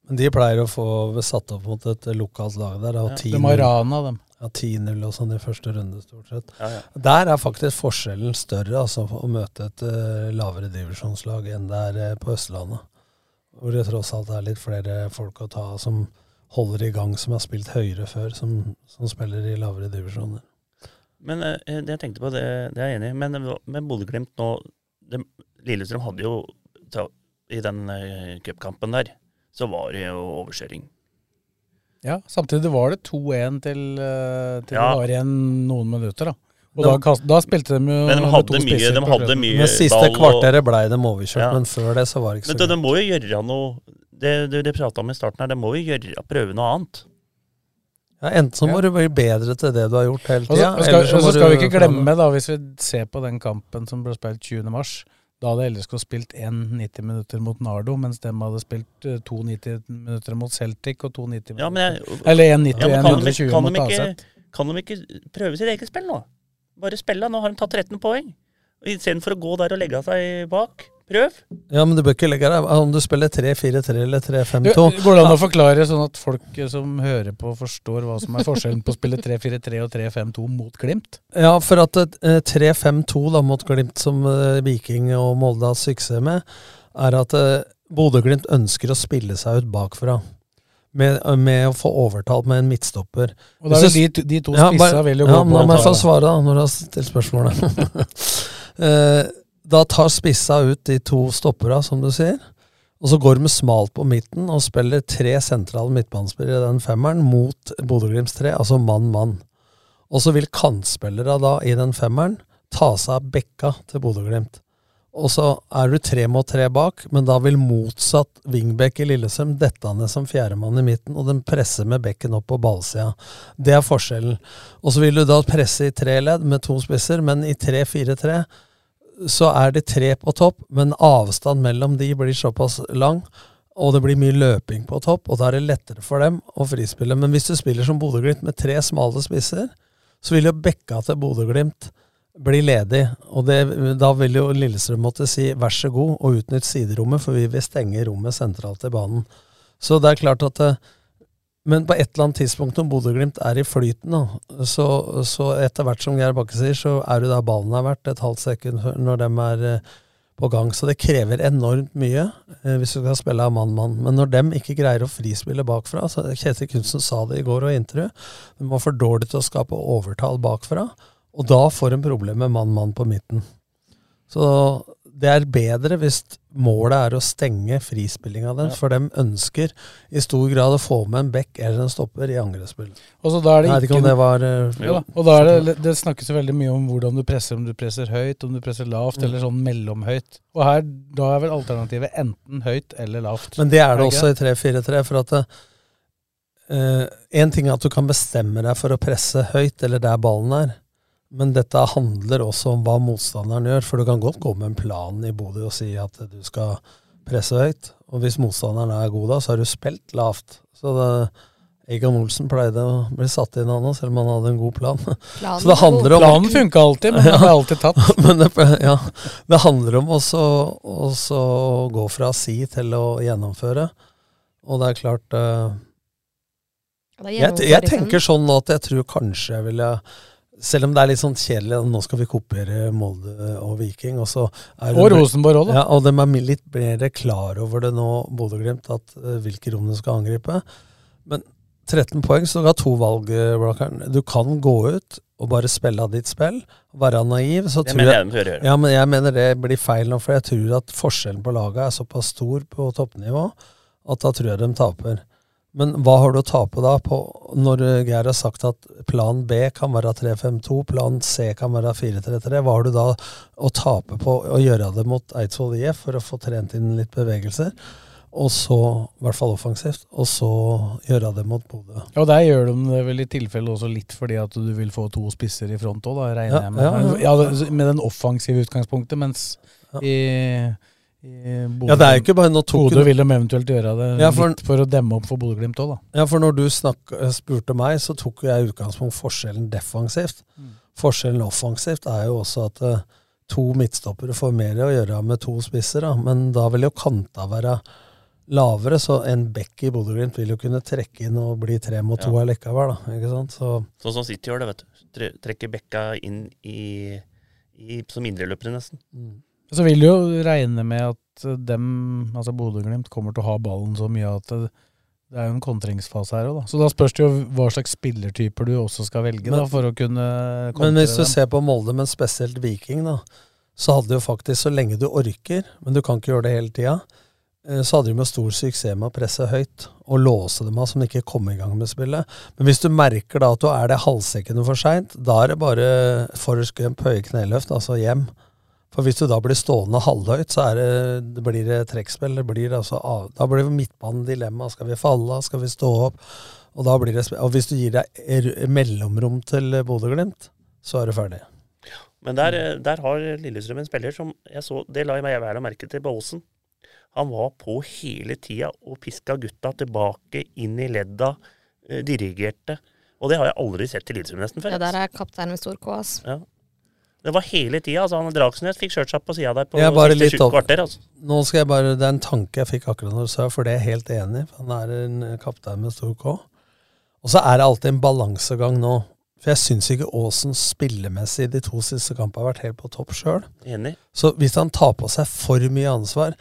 S6: Men De pleier å få satt opp mot et lokalt lag der. da, Og
S4: Ja.
S6: 10-0.
S4: De har rana dem.
S6: Ja, 10-0 og sånn i første runde, stort sett.
S7: Ja, ja.
S6: Der er faktisk forskjellen større, altså, å møte et eh, lavere divisjonslag enn det er eh, på Østlandet. Hvor det tross alt er litt flere folk å ta av som holder i gang, som har spilt høyere før, som, som spiller i lavere divisjoner.
S7: Men eh, det jeg tenkte på, det, det er jeg enig i. Men eh, med Bodø-Glimt nå det, Lillestrøm hadde jo ta, I den eh, cupkampen der, så var det jo overkjøring.
S4: Ja, samtidig var det 2-1 til, eh, til
S7: Ja.
S4: det var igjen noen minutter, da. Og
S7: De-
S4: da, kast, da spilte de jo
S7: Men de
S4: med
S7: hadde
S4: to
S7: mye-
S4: spisser
S7: de
S4: på
S7: hadde
S4: slutten.
S7: mye
S6: Men siste
S7: ball og-
S6: kvarteret blei dem overkjørt,
S7: Ja.
S6: men før det så var det ikke så
S7: Men du, de må jo gjøre noe Det du, du prata om i starten her, de må jo gjøre, prøve noe annet.
S6: Ja, enten så må du bli bedre til det du har gjort hele
S4: Og så
S6: tida.
S4: og Altså, skal, og så skal vi ikke glemme, da, hvis vi ser på den kampen som ble spilt 20. mars. Da hadde LSK spilt 1,90 minutter mot Nardo, mens de hadde spilt eh, 2,90 minutter mot Celtic og 2,90
S7: Ja, men jeg,
S4: Eller 1,90
S7: Ja, men kan de-
S4: 1,20
S7: kan de
S4: mot
S7: ikke-
S4: AZ.
S7: Kan de ikke prøve sitt eget spill nå? Bare spille. Nå har de tatt 13 poeng. Istedenfor å gå der og legge seg bak. Prøv.
S6: Ja, men du bør ikke legge deg altså, Om du spiller 3-4-3 eller 3-5-2
S4: Du, Går det an å forklare sånn at folk eh, som hører på, forstår hva som er forskjellen på å spille 3-4-3 og 3-5-2 mot Glimt?
S6: Ja, for at eh, 3-5-2 da mot Glimt, som eh, Viking og Molde har hatt suksess med, er at eh, Bodø-Glimt ønsker å spille seg ut bakfra. Med, med å få overtalt med en midtstopper.
S4: Og da
S6: Hvis
S4: vil
S6: du-
S4: de to- de to
S6: bare-
S4: spissa vil jo
S6: ja,
S4: gå på
S6: Ja, men jeg får
S4: overtall,
S6: svare da, når du har stilt spørsmålet. Eh, da tar spissa ut de to stoppera, som du sier. Og så går de smalt på midten og spiller tre sentrale midtbanespillere i den femmeren mot Bodø-Glimts tre, altså mann-mann. Og så vil kantspillere da i den femmeren ta seg av bekka til Bodø-Glimt. Og så er du tre mot tre bak, men da vil motsatt wingback i Lillesøm dette ned som fjerdemann i midten, og den presser med bekken opp på ballsida. Det er forskjellen. Og så vil du da presse i tre ledd med to spisser, men i 3-4-3 så er det tre på topp, men avstand mellom de blir såpass lang, og det blir mye løping på topp, og da er det lettere for dem å frispille. Men hvis du spiller som Bodø-Glimt med tre smale spisser, så vil jo bekka til Bodø-Glimt bli ledig, og det, da vil jo Lillestrøm måtte si vær så god og utnytt siderommet, for vi vil stenge rommet sentralt i banen. Så det er klart at eh, men på et eller annet tidspunkt når Bodø-Glimt er i flyten, da, så, så etter hvert som Geir Bakke sier, så er det der ballen er verdt et halvt sekund før- når de er eh, på gang. Så det krever enormt mye eh, hvis du skal spille av mann-mann. Men når de ikke greier å frispille bakfra så Kjetil Kunsten sa det i går og i intervju. De var for dårlige til å skape overtall bakfra, og da får de problemer med mann-mann på midten. Så det er bedre hvis målet er å stenge frispillinga deres, for de ønsker i stor grad å få med en back eller en stopper i angrepsspillet.
S4: Og så da er det
S6: Jeg vet ikke om det var eh,
S4: jo, da. Og da er det, det snakkes jo veldig mye om hvordan du presser, om du presser høyt, om du presser lavt,
S6: Mm.
S4: eller sånn mellomhøyt. Og her, da er vel alternativet enten høyt eller lavt.
S6: Men det er det også
S4: ikke?
S6: i 3-4-3. For at én ting er at du kan bestemme deg for å presse høyt, eller der ballen er. Men dette handler også om hva motstanderen gjør. For du kan godt gå med en plan i Bodø og si at du skal presse høyt. Og hvis motstanderen er god da, så har du spilt lavt. Så det, Egon Olsen pleide å bli satt inn, han òg, selv om han hadde en god plan.
S4: Planen
S6: så det handler om
S4: Planen funka alltid, men den ble alltid tatt.
S6: men det, ja, det handler om også også å gå fra å si til å gjennomføre. Og det er klart eh,
S5: Ja, det er
S6: jeg, jeg
S5: gjennomføringen.
S6: tenker sånn nå at jeg tror kanskje jeg ville selv om det er litt sånn kjedelig, nå skal vi kopiere Molde og Viking. Og, så er
S4: Og
S6: de-
S4: Rosenborg også, da.
S6: Ja, og de er mi- litt mer klar over det nå, Bodø-Glimt, at eh, hvilke rom de skal angripe. Men 13 poeng, så du har to valg, eh, Blakkaren. Du kan gå ut og bare spille av ditt spill, være naiv. Så
S7: Det
S6: tror
S7: mener jeg de bør gjøre.
S6: Ja, men jeg mener det blir feil nå, for jeg tror at forskjellen på laga er såpass stor på toppnivå at da tror jeg de taper. Men hva har du å tape da på når eh, Geir har sagt at plan B kan være 3-5-2, plan C kan være 4-3-3? Hva har du da å tape på å gjøre det mot Eidsvoll IF for å få trent inn litt bevegelser? Og så, i hvert fall offensivt, og så gjøre det mot Bodø.
S4: Og der gjør de det vel i tilfelle også litt fordi at du vil få to spisser i front òg, da, regner
S6: Ja,
S4: jeg med.
S6: ja,
S4: Ja,
S6: ja.
S4: det- med den offensive utgangspunktet, mens i, i Bodø
S6: Ja, det er jo ikke bare- nå tok
S4: Bodø
S6: du-
S4: vil de eventuelt gjøre det
S6: Ja, for-
S4: litt for å demme opp for Bodø-Glimt òg, da.
S6: Ja, for når du snakk, eh, spurte meg, så tok jeg utgangspunkt forskjellen defensivt. Forskjellen offensivt er jo også at eh, to midtstoppere får mer å gjøre med to spisser, da. men da vil jo kanta være lavere, så en bekk i Bodø-Glimt vil jo kunne trekke inn og bli tre mot to
S7: Ja.
S6: allikevel, da. Ikke sant? Så
S7: Sånn som City gjør det, vet du. Tre- Trekker bekka inn i, i som indreløpere, nesten.
S4: Så vil du jo regne med at eh, dem, altså Bodø-Glimt, kommer til å ha ballen så mye at det, det er jo en kontringsfase her òg, da. Så da spørs det jo hva slags spillertyper du også skal velge,
S6: Men-
S4: da, for å kunne kontre
S6: Men hvis du
S4: dem.
S6: ser på Molde, men spesielt Viking, da, så hadde jo faktisk, så lenge du orker, men du kan ikke gjøre det hele tida, eh, så hadde de jo stor suksess med å presse høyt og låse dem av som de ikke kom i gang med spillet. Men hvis du merker da at du er det halvsekkende for seint, da er det bare forrest gump, høye kneløft, altså hjem. For hvis du da blir stående halvhøyt, så er det, det blir det trekkspill. Det blir altså av, da blir det midtbanen dilemma. Skal vi falle av? Skal vi stå opp? Og, da blir det, sp- og hvis du gir deg er- mellomrom til Bodø-Glimt, så er du ferdig.
S7: Men der, eh, der har Lillestrøm en spiller som jeg så Det la jeg meg være merke til på Åsen. Han var på hele tida og piska gutta tilbake inn i ledda, eh, dirigerte. Og det har jeg aldri sett i Lillestrøm nesten før.
S5: Ja, der er kaptein med stor K, ass.
S7: Ja. Det var hele tida. Altså, han Dragsnes fikk kjørt seg på sida der på
S6: Jeg er bare
S7: siste
S6: litt
S7: sju
S6: opp-
S7: kvarter. Altså.
S6: Nå skal jeg bare, Det er en tanke jeg fikk akkurat når du sa for det er jeg helt enig i. for Han er en eh, kaptein med stor K. Og så er det alltid en balansegang nå. For jeg syns ikke Aasen spillemessig de to siste kampene har vært helt på topp sjøl.
S7: Enig.
S6: Så hvis han tar på seg for mye ansvar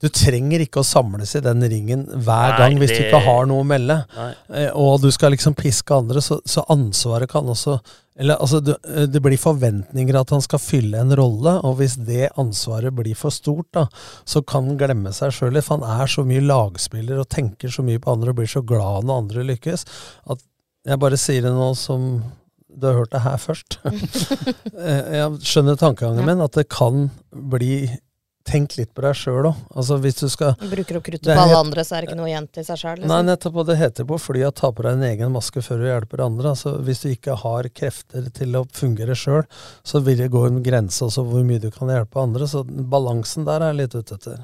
S6: Du trenger ikke å samles i den ringen hver
S7: Nei,
S6: gang hvis du
S7: det-
S6: ikke har noe å melde.
S7: Nei.
S6: Eh, Og du skal liksom piske andre, så, så ansvaret kan også eller, altså, du, eh, Det blir forventninger at han skal fylle en rolle, og hvis det ansvaret blir for stort, da, så kan han glemme seg sjøl litt. For han er så mye lagspiller og tenker så mye på andre og blir så glad når andre lykkes. At jeg bare sier det nå som du har hørt det her først. Eh, jeg skjønner tankegangen min, at det kan bli Tenk litt på deg sjøl òg. Altså, hvis du skal
S5: Bruker opp kruttet
S6: Det er
S5: på alle
S6: helt-
S5: andre, så er det ikke noe igjen til seg sjøl.
S6: Nei,
S5: Liksom.
S6: nettopp. Og det heter på flyet ta på deg en egen maske før du hjelper andre. Altså, hvis du ikke har krefter til å fungere sjøl, så vil det gå en grense også hvor mye du kan hjelpe andre. Så den balansen der er jeg litt ute etter.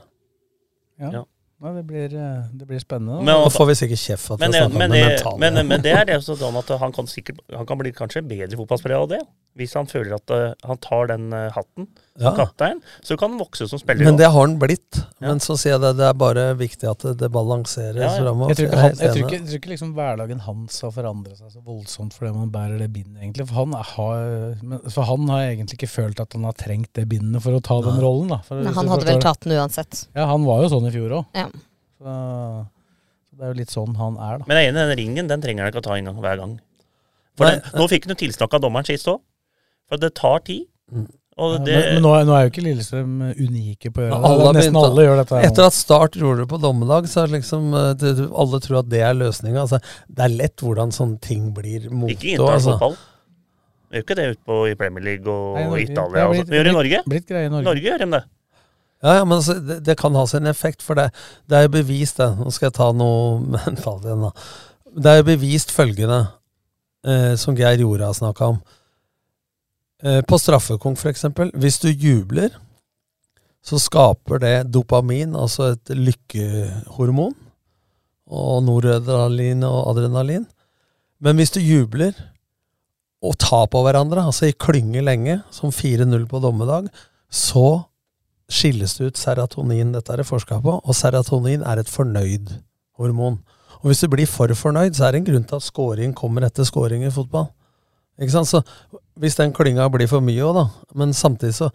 S4: Ja. Nei, det, blir, eh, det blir spennende. da.
S6: Men- Nå får vi sikkert kjeft for at vi
S7: men, eh,
S6: har snakket om
S7: men,
S6: det
S7: det-
S6: mentale.
S7: Men, men det er det også sånn at han kan, sikkert, han kan bli kanskje en bedre fotballspiller av det. Hvis han føler at eh, han tar den eh, hatten som
S6: Ja.
S7: kaptein, så kan han vokse som spiller.
S6: Men
S7: også.
S6: det har han blitt. Men så sier jeg det, det er bare viktig at det, det balanseres
S7: Ja, ja.
S6: framover.
S4: Jeg tror ikke, han, jeg tror ikke, jeg tror ikke liksom hverdagen hans har forandret seg så voldsomt fordi man bærer det bindet, egentlig. For han, er- har, men, for han har egentlig ikke følt at han har trengt det bindet for å ta den rollen, da. For,
S5: Nei,
S4: hvis
S5: han
S4: du
S5: hadde vel
S4: forstår.
S5: tatt den uansett.
S4: Ja, han var jo sånn i fjor òg.
S5: Ja.
S4: Så, så det er jo litt sånn han er, da.
S7: Men jeg er enig, den ringen den trenger han ikke å ta en gang hver gang. For
S4: Nei,
S7: den, nå fikk han jo tilsnakk av dommeren sist òg, for det tar tid. Og
S4: Ja,
S7: det,
S4: men men nå, er- nå er jo ikke Lillestrøm eh, unike på å gjøre det.
S6: Alle har
S4: Nesten
S6: begynt å-
S4: alle gjør dette. her nå.
S6: Etter at Start gjorde det på dommedag, så er det liksom eh, det, du- alle tror at det er løsninga. Altså, det er lett hvordan sånne ting blir motto.
S7: ikke inntar
S6: altså.
S7: fotball. Det gjør ikke det ute på, i Premier League og,
S4: Nei, Norge-
S7: Italia.
S4: det er
S7: og
S4: blitt-
S7: sånt. Men altså. gjør det i Norge.
S4: blitt- blitt greie i Norge.
S7: Norge gjør de det.
S6: Ja, ja, men altså, det, det kan ha sin effekt, for det, det er jo bevist det. Nå skal jeg ta noe mentalt igjen, da. Det er jo bevist følgende, eh, som Geir Jorda har snakka om. Eh, på straffekonk, for eksempel. Hvis du jubler, så skaper det dopamin, altså et lykkehormon, og noradrenalin og adrenalin. Men hvis du jubler og tar på hverandre, altså i klynge lenge, som 4-0 på dommedag, så skilles det ut serotonin. Dette er det forska på, og serotonin er et fornøyd hormon. Og hvis du blir for fornøyd, så er det en grunn til at scoring kommer etter scoring i fotball. Ikke sant? Så hvis den klynga blir for mye òg, da, men samtidig så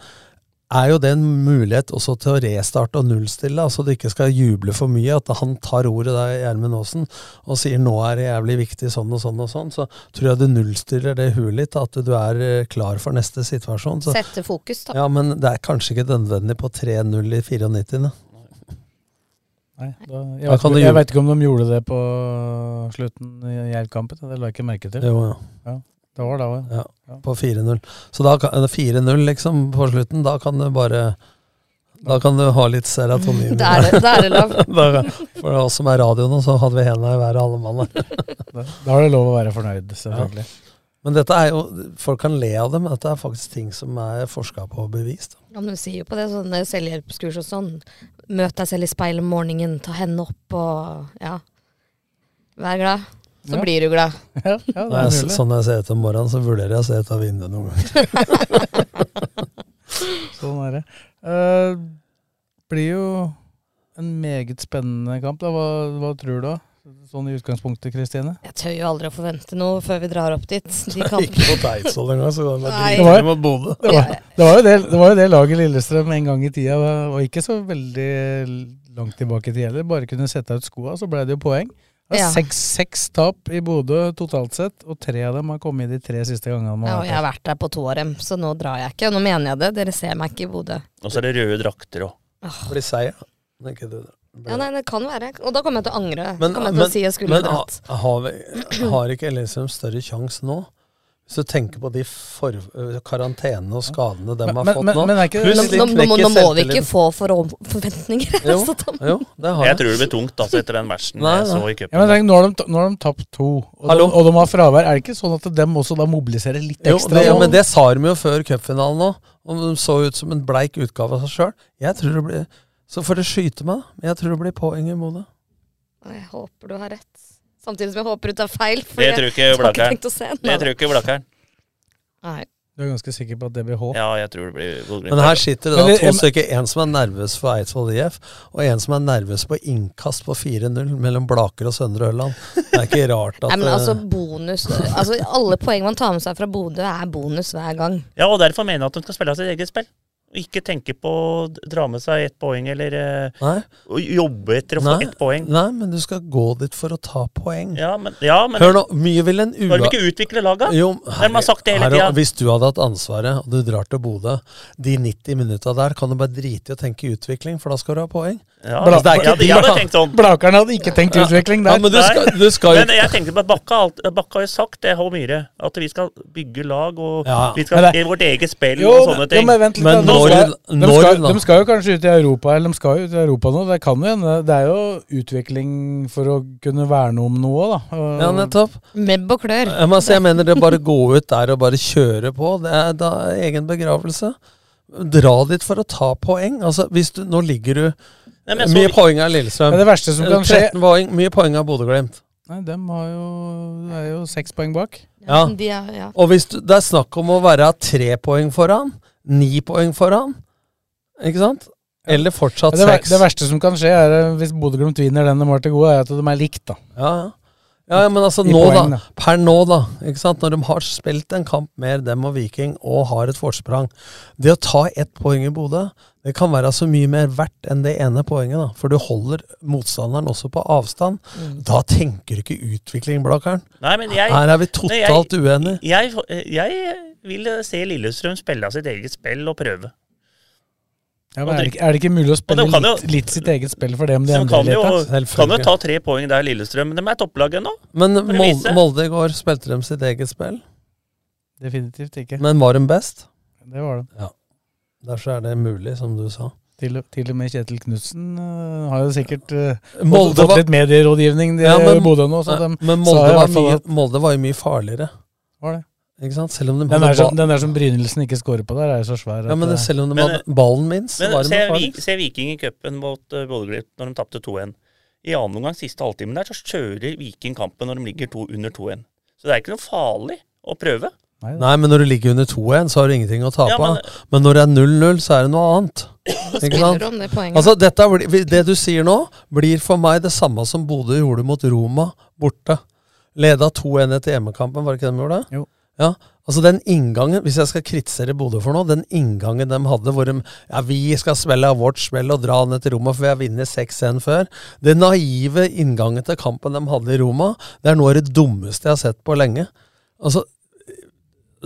S6: er jo det en mulighet også til å restarte og nullstille, altså du ikke skal juble for mye. At han tar ordet der, Gjermund Aasen, og sier 'nå er det jævlig viktig', sånn og sånn og sånn, så tror jeg du nullstiller det huet litt, at du er eh, klar for neste situasjon. Så
S5: Sette fokus, da.
S6: ja, men det er kanskje ikke nødvendig på 3-0 i 94.
S4: Nei, da, jeg,
S6: Da
S4: vet
S6: kan
S4: ikke,
S6: du
S4: jeg
S6: gjøre-
S4: vet ikke om de gjorde det på slutten i Jerv-kampen. Det la jeg ikke merke til.
S6: Jo, ja.
S4: Det var da òg,
S6: ja. På 4-0. Så da kan 4-0 liksom på slutten, da kan du bare Da kan du ha litt serotonin. i
S5: Da er det- da er det lov.
S6: Da- for oss som er radio nå, så hadde vi henda i hver alle mann.
S4: Da da er det lov å være fornøyd, selvfølgelig.
S6: Men dette er jo, folk kan le av det, men dette er faktisk ting som er forska på og bevist.
S5: Ja, men de sier jo på det, sånne selvhjelpskurs og sånn. Møt deg selv i speilet om morgenen, ta hendene opp og ja. Vær glad. Så
S6: Ja.
S5: blir du glad.
S4: Ja,
S6: Når jeg, s- sånn jeg ser ut om morgenen, så vurderer jeg å se ut av vinduet noen ganger.
S4: Sånn er det. Eh, blir jo en meget spennende kamp. da. Hva, hva tror du? da? Sånn i utgangspunktet, Kristine?
S5: Jeg tør jo aldri å forvente noe før vi drar opp dit. De kan...
S6: Ikke på Eidsvoll engang, så det
S5: Nei.
S6: er dritlig mot Bodø.
S4: Det var, det, var jo det, det var jo det laget Lillestrøm en gang i tida, og ikke så veldig langt tilbake i tid heller, bare kunne sette ut skoa, så ble det jo poeng. Det
S5: Ja.
S4: er seks, seks tap i Bodø totalt sett, og tre av dem har kommet de tre siste gangene. man
S5: Ja,
S4: har
S5: og jeg har vært der på to av dem, så nå drar jeg ikke. Og nå mener jeg det. Dere ser meg ikke i Bodø.
S7: Og så er det røde drakter òg.
S6: Blir seig, ja. Det er ikke det.
S5: Ja, nei, det kan være. Og da kommer jeg til å angre.
S6: Men,
S5: Men, kommer jeg til
S6: men-
S5: å si jeg skulle
S6: men
S5: dratt.
S6: ha- har, vi, har ikke Lillestrøm større sjanse nå? Hvis du tenker på de for, øh, karantenene og skadene de
S4: Men-
S6: har
S4: men-
S6: fått
S4: men-
S6: nå
S4: men er ikke-
S5: Nå,
S6: pluss de
S5: nå, nå, må- nå må vi
S6: knekker
S5: ikke få for forventninger.
S6: Jo,
S5: altså, Tom.
S6: jo, det har
S7: Jeg tror det blir tungt altså, etter den versen
S6: Nei,
S7: jeg så
S6: nei.
S7: i
S4: Ja, men
S7: cupen.
S4: tenk, nå, har de, ta- nå har de tapt to, og de,
S6: Hallo?
S4: og de har fravær. Er det ikke sånn at dem også da mobiliserer litt
S6: Jo,
S4: ekstra?
S6: det,
S4: nå?
S6: men det sa de jo før cupfinalen òg. Om de så ut som en bleik utgave av seg sjøl. Jeg tror det blir Så får det skyte meg, da. Men jeg tror det blir poeng i Bodø.
S5: Jeg håper du har rett. Samtidig som jeg håper du tar feil. for
S7: Det
S5: jeg
S7: tror ikke
S5: har
S7: Blakkern.
S5: tenkt å se den,
S7: Det
S5: da.
S7: tror ikke Blakkern.
S5: Nei.
S4: Du er ganske sikker på at det blir H?
S7: Ja, jeg tror det blir Bodø-Glimt.
S6: Men her sitter det
S4: Men
S6: da
S4: det-
S6: to stykker. En som er nervøs for Eidsvoll IF, og en som er nervøs på innkast på 4-0 mellom Blaker og Søndre Ørland. Det er ikke rart at
S5: Nei, men
S6: eh,
S5: altså bonus altså, Alle poeng man tar med seg fra Bodø, er bonus hver gang.
S7: Ja, og derfor mener jeg at de skal spille av sitt eget spill. Og ikke tenke på å dra med seg ett poeng, eller eh,
S6: Nei.
S7: å jobbe etter å få
S6: Nei.
S7: ett poeng.
S6: Nei, men du skal gå dit for å ta poeng.
S7: Ja, men, ja, men
S6: Hør nå, mye vil en
S7: Når de ikke utvikler laga?
S6: Jo,
S7: Hvem har sagt det hele
S6: her-
S7: tida?
S6: Hvis du hadde hatt ansvaret, og du drar til Bodø, de 90 minutta der kan du bare drite i å tenke utvikling, for da skal du ha poeng.
S7: Ja, altså, Bla-
S6: det er
S7: jeg hadde- jeg hadde tenkt sånn.
S4: Blakeren hadde ikke tenkt
S6: Ja.
S4: utvikling der.
S6: Ja, men du skal, du skal jo
S7: Men jeg tenkte på at Bakka, har alt, Bakka har jo sagt det, Håvard Myhre, at vi skal bygge lag og
S6: Ja.
S7: vi skal
S4: Men
S7: i vårt eget spill
S4: Jo,
S7: og sånne ting.
S4: Ja, men vent litt, da.
S7: nå
S4: de,
S7: skal-
S4: skal, de, skal, de skal jo kanskje ut i Europa, eller de skal jo ut i Europa nå. Det kan jo hende. Det er jo utvikling for å kunne verne om noe, da. Og-
S6: Ja, nettopp.
S5: Nebb og klør.
S6: Ja, men altså, jeg mener det bare å gå ut der og bare kjøre på, det er da egen begravelse. Dra dit for å ta poeng. Altså, hvis du, nå ligger du
S4: Nei, men jeg så-
S6: Mye poeng av Lillestrøm.
S4: Men det verste som kan skje-
S6: 13 poeng, mye poeng av Bodø-Glimt.
S4: Nei, de har jo, det er jo seks poeng bak.
S6: Ja.
S5: de er- ja.
S6: Og hvis du, det er snakk om å være tre poeng foran, ni poeng foran, ikke sant? Eller fortsatt
S4: det, ver-
S6: seks.
S4: det verste som kan skje, er eh, hvis Bodø-Glimt vinner den de har til gode, er at de er likt, da.
S6: Ja, ja. Ja, ja, men altså
S4: I
S6: nå,
S4: poeng,
S6: da.
S4: da.
S6: Per nå, da. ikke sant? Når de har spilt en kamp mer, dem og Viking, og har et forsprang. Det å ta ett poeng i Bodø, det kan være så mye mer verdt enn det ene poenget, da. For du holder motstanderen også på avstand.
S4: Mm.
S6: Da tenker du ikke utvikling, Blakkaren.
S7: Nei, men jeg,
S6: Her er vi
S7: Nei,
S6: totalt
S7: jeg-
S6: uenige.
S7: Jeg, jeg vil se Lillestrøm spille av sitt eget spill og prøve.
S4: Ja, men er, det, ikke- er det ikke mulig å spille
S7: Og de kan jo-
S4: litt, litt sitt eget spill for det om de
S7: Så de kan
S4: endrer
S7: jo,
S4: litt? da?
S7: kan jo ta tre poeng der, Lillestrøm. Men de er topplaget nå.
S6: Men
S7: for å
S6: Mol-
S7: vise.
S6: Molde i går spilte de sitt eget spill.
S4: Definitivt ikke.
S6: Men var de best?
S4: Det var det.
S6: Ja. Derfor er det mulig, som du sa.
S4: Til, og- til og med Kjetil Knutsen øh, har jo sikkert øh,
S6: Molde
S4: fått
S6: var-
S4: litt medierådgivning de,
S6: Ja, men-
S4: Bodø nå. Så
S6: Nei,
S4: de,
S6: men
S4: sa
S6: Molde
S4: i
S6: var,
S4: hvert fall
S6: mye,
S4: at-
S6: Molde var jo mye farligere.
S4: Var det?
S6: Ikke sant? Selv om de
S4: den,
S6: hadde
S4: der som,
S6: ba-
S4: den der som Brynildsen ikke scorer på der, er jo så svær.
S6: Ja,
S4: at eh,
S6: men det,
S4: det-
S6: selv om de
S7: Men, eh,
S6: hadde ballen minst, så
S7: Men
S6: var de
S7: se,
S6: med
S7: Vi- se Viking i cupen mot uh, Bodø-Glimt når de tapte 2-1. I annen omgang, siste halvtimen der, så kjører Viking kampen når de ligger to, under 2-1. Så det er ikke noe farlig å prøve.
S6: Nei, men når du ligger under 2-1, så har du ingenting å tape.
S7: Ja, men-
S6: av. men når det er 0-0, så er det noe annet. Ikke
S5: Spiller
S6: sant?
S5: om det poenget.
S6: Altså, dette, blir- det du sier nå, blir for meg det samme som Bodø gjorde mot Roma borte. Leda 2-1 etter hjemmekampen, var det ikke det de gjorde?
S4: Jo.
S6: Ja, altså den inngangen, Hvis jeg skal kritisere Bodø for noe, den inngangen de hadde hvor de ja, vi skal spille av vårt smell og dra ned til Roma, for vi har vunnet 6-1 før Den naive inngangen til kampen de hadde i Roma, det er noe av det dummeste jeg har sett på lenge. Altså,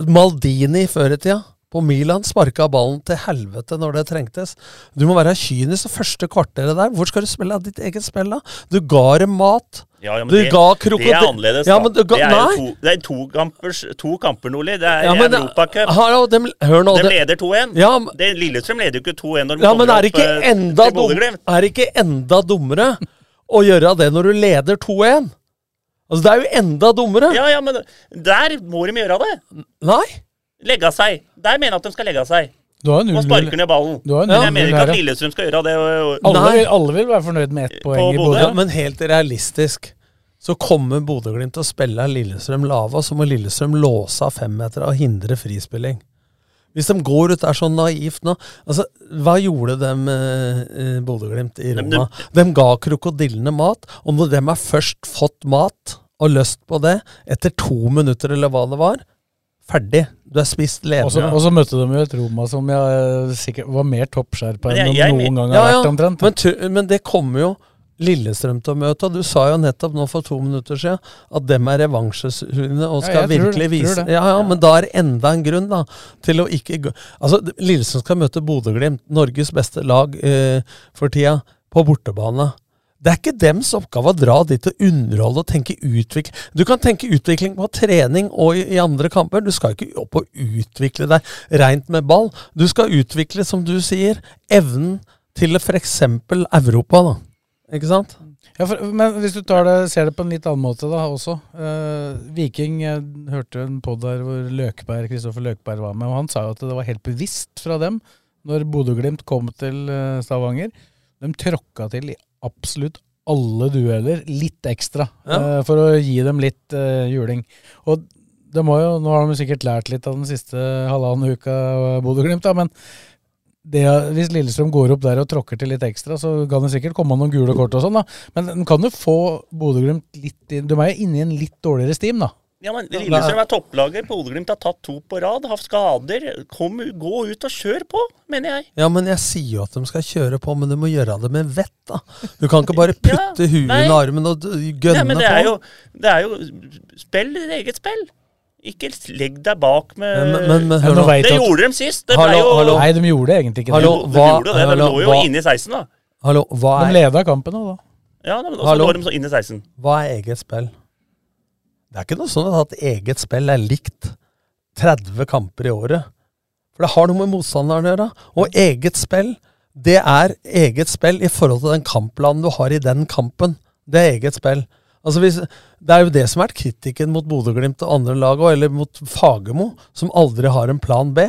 S6: Maldini før i tida. På Milan sparka ballen til helvete når det trengtes. Du må være kynisk det første kvarteret der. Hvor skal du spille av ditt eget spill, da? Du ga dem mat.
S7: Ja, ja, men
S6: du
S7: det,
S6: ga krokodil...
S7: det er annerledes,
S6: ja,
S7: da.
S6: men du ga...
S7: det er
S6: Nei.
S7: jo to, det er to, kampers, to kamper, Nordli. Det er
S6: Ja, men det-
S7: Europacup.
S6: Harald, dem- hør nå,
S7: De
S6: det-
S7: leder 2-1.
S6: Ja, men-
S7: Det- Lillestrøm leder jo ikke 2-1 når de
S6: Ja,
S7: kommer
S6: men er det
S7: opp
S6: ikke
S7: eh,
S6: enda,
S7: til
S6: dum,
S7: Bodø-Glimt.
S6: er det ikke enda dummere å gjøre det når du leder 2-1? Altså, det er jo enda dummere.
S7: Ja, ja, men der må de gjøre det.
S6: Nei.
S7: Legge av seg. Der mener jeg at de skal legge av seg.
S4: Du har jo
S7: Og
S4: null-
S7: sparker ned ballen.
S4: Du har jo
S7: Men
S4: null-
S7: jeg mener
S4: null
S7: ikke
S4: her,
S7: at
S4: ja.
S7: Lillestrøm skal gjøre det. og- og-
S4: Alle, vil, alle vil være fornøyd med ett poeng i
S7: Bodø.
S4: Bodø.
S6: Ja, men helt realistisk så kommer Bodø-Glimt til å spille av Lillestrøm lave, og så må Lillestrøm låse av femmetere og hindre frispilling. Hvis de går ut der sånn naivt nå altså, Hva gjorde de eh, eh, Bodø-Glimt i
S7: Men
S6: Roma? De ga krokodillene mat, og når de har først fått mat og lyst på det, etter to minutter eller hva det var, ferdig. Du er spist
S4: Og så-
S6: levende.
S4: Og så møtte de jo et Roma som jeg eh, sikkert var mer toppskjerpa enn de noen gang har
S6: Ja, ja,
S4: vært, omtrent.
S6: Men, tu- men det kommer jo Lillestrøm til å møte, og du sa jo nettopp nå for to minutter siden at dem er revansjesugne og
S4: Ja,
S6: skal
S4: jeg tror-
S6: virkelig
S4: tror
S6: vise
S4: det.
S6: ja, ja, men da er det enda en grunn da til å ikke gå Altså, d- Lillestrøm skal møte Bodø-Glimt, Norges beste lag eh, for tida, på bortebane. Det er ikke dems oppgave å dra dit og underholde og tenke utvikling. Du kan tenke utvikling på trening og i, i andre kamper. Du skal ikke opp og utvikle deg rent med ball. Du skal utvikle, som du sier, evnen til f.eks. Europa, da. Ikke sant?
S4: Ja, for, men hvis du tar det, ser det på en litt annen måte da også. Eh, Viking jeg hørte en podd der hvor Løkberg, Kristoffer Løkberg var med, og han sa jo at det var helt bevisst fra dem når Bodø-Glimt kom til eh, Stavanger. De tråkka til i absolutt alle dueller litt ekstra
S6: Ja.
S4: eh, for å gi dem litt eh, juling. Og de har jo, nå har de sikkert lært litt av den siste halvannen uka eh, Bodø-Glimt, da, men det, hvis Lillestrøm går opp der og tråkker til litt ekstra, så kan det sikkert komme noen gule kort og sånn, da. Men den kan jo få Bodø-Glimt litt inn De er jo inne i en litt dårligere steam, da.
S7: Ja, men Lillestrøm er topplager. Bodø-Glimt har tatt to på rad, har skader. Kom, gå ut og kjør på, mener jeg.
S6: Ja, men jeg sier jo at de skal kjøre på, men du må gjøre det med vett, da. Du kan ikke bare putte huet
S7: nei.
S6: under armen og d- gønne
S7: Nei, men det
S6: på.
S7: er jo, det er jo Spill ditt eget spill. Ikke legg deg bak med
S6: Men- men- men hør nå.
S7: Det gjorde de sist. Det ble
S6: Hallo,
S7: jo
S6: hallo.
S4: Nei, de gjorde det egentlig ikke
S6: Hallo,
S4: det.
S7: De
S6: hva-
S7: gjorde det. De
S6: hallo,
S7: lå jo
S6: hva-
S7: inne i 16, da.
S6: Hallo, hva
S4: De
S6: er,
S4: leda kampen òg, da.
S7: Ja, da, men også
S6: Hallo.
S7: lå de så inne i 16.
S6: hva er eget spill? Det er ikke noe sånn at eget spill er likt 30 kamper i året. For det har noe med motstanderen å gjøre. Og eget spill, det er eget spill i forhold til den kampplanen du har i den kampen. Det er eget spill. Altså hvis, det er jo det som har vært kritikken mot Bodø-Glimt og andre lag òg, eller mot Fagermo, som aldri har en plan B.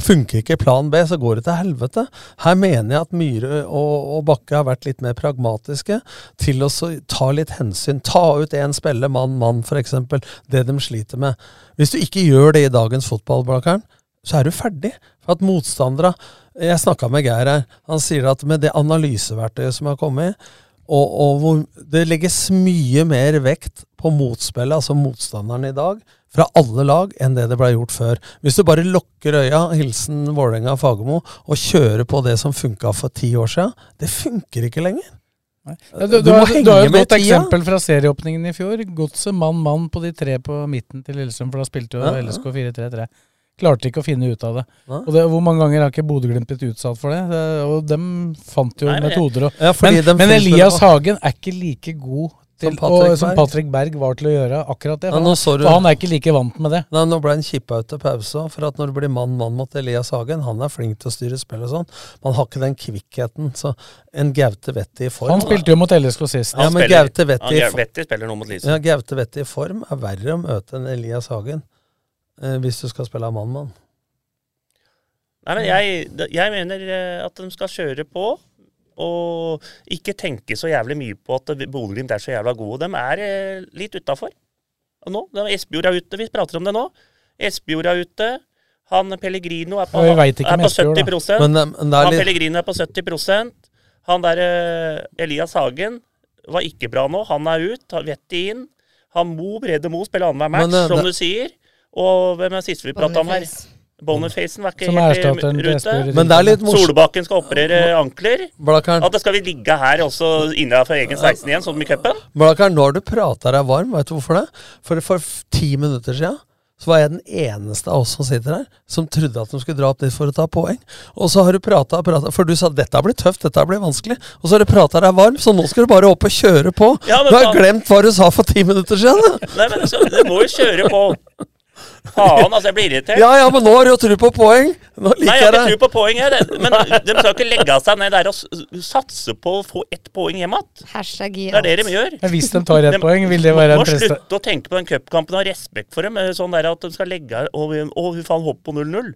S6: Funker ikke plan B, så går det til helvete. Her mener jeg at Myhre og, og Bakke har vært litt mer pragmatiske til å så ta litt hensyn. Ta ut én spiller, mann, mann, f.eks. Det de sliter med. Hvis du ikke gjør det i dagens fotball, Blakkaren, så er du ferdig. For at motstandere Jeg snakka med Geir her. Han sier at med det analyseverktøyet som har kommet, og, og hvor det legges mye mer vekt på motspillet, altså motstanderen i dag, fra alle lag enn det det ble gjort før. Hvis du bare lukker øya, hilsen Vålerenga og Fagermo, og kjører på det som funka for ti år siden, det funker ikke lenger.
S4: Ja, Du, du,
S6: Du må
S4: har- du har jo
S6: henge
S4: et
S6: med
S4: godt
S6: tida.
S4: eksempel fra serieåpningen i fjor. Godset mann-mann på de tre på midten til Lillestrøm, for da spilte jo
S6: Ja, ja.
S4: LSK 4-3-3. Klarte ikke å finne ut av det.
S6: Nei.
S4: Og det, Hvor mange ganger har ikke Bodø-Glimt blitt utsatt for det? det? Og dem fant jo
S7: Nei, men det-
S4: metoder. Og,
S6: Ja, fordi de
S4: men, men
S6: finnes
S4: Elias
S6: bare-
S4: Hagen er ikke like god til,
S6: Som Patrick
S4: som, Patrick og, som
S6: Berg.
S4: Patrick Berg var til å gjøre akkurat det.
S6: Ja,
S4: For,
S6: nå
S4: han,
S6: så du-
S4: for han er ikke like vant med det.
S6: Nei, nå ble han kippa ut til pause òg, for at når det blir mann-mann mot Elias Hagen Han er flink til å styre spill og sånn, men han har ikke den kvikkheten. Så en Gaute Vetti i form
S4: Han spilte jo mot LSK sist.
S6: Ja,
S7: Han
S6: men
S7: spiller-
S6: Gaute Vetti
S7: han-
S6: i-
S7: Vetti spiller nå mot Lillestrøm.
S6: ja, Gaute Vetti i form er verre å møte enn Elias Hagen eh, hvis du skal spille av mann-mann.
S7: Nei, men jeg, jeg mener eh, at de skal kjøre på. Og ikke tenke så jævlig mye på at Bodø-Glimt er så jævla gode. De er eh, litt utafor nå. De- Espejord er ute, vi prater om det nå. Espejord er ute. Han Pellegrino er på,
S4: Ja, vi vet ikke
S7: er
S4: med
S7: på
S4: Espejord, da.
S7: 70
S6: Men, eh, men det er
S7: Han
S6: litt-
S7: Pellegrino er på 70 Han der eh, Elias Hagen var ikke bra nå. Han er ut, har vettet inn. Han Mo, Brede Mo, spiller annenhver match,
S6: Men, eh,
S7: som
S6: det-
S7: du sier. Og hvem er siste vi prata om her?
S5: Boniface.
S7: Bonifacen var ikke
S4: Som
S7: helt i
S4: erstatteren til
S7: rute.
S4: Espejord i
S6: Men det er litt morsomt.
S7: Solbakken skal operere ankler.
S6: Blakkaren,
S7: At det skal vi ligge her også innenfor egen 16 igjen, sånn som i cupen?
S6: Blakkaren, nå har du prata deg varm, veit du hvorfor det? For for f- ti minutter sia så var jeg den eneste av oss som sitter her, som trodde at de skulle dra opp dit for å ta poeng. Og så har du prata og prata, for du sa 'dette blir tøft, dette blir vanskelig', og så har du prata deg varm, så nå skal du bare opp og kjøre på.
S7: Ja, men
S6: du har
S7: faen.
S6: glemt hva du sa for ti minutter siden!
S7: Nei, men altså, du må jo kjøre på. Faen, altså, jeg blir irritert.
S6: Ja, ja, men nå har du jo tro på poeng! Nå liker
S7: Nei, jeg har ikke
S6: jeg
S7: tro på poeng, jeg. Det- Men de skal ikke legge seg ned der og s- satse på å få ett poeng hjem igjen.
S5: Hashtag i
S7: Det er det de gjør.
S4: Ja, hvis de tar ett
S7: De
S4: poeng, vil det være en
S7: må
S4: presta-
S7: slutte å tenke på den cupkampen og ha respekt for dem. eh, Sånn der at de skal legge her og, vi- å, fy faen, håpe på 0-0.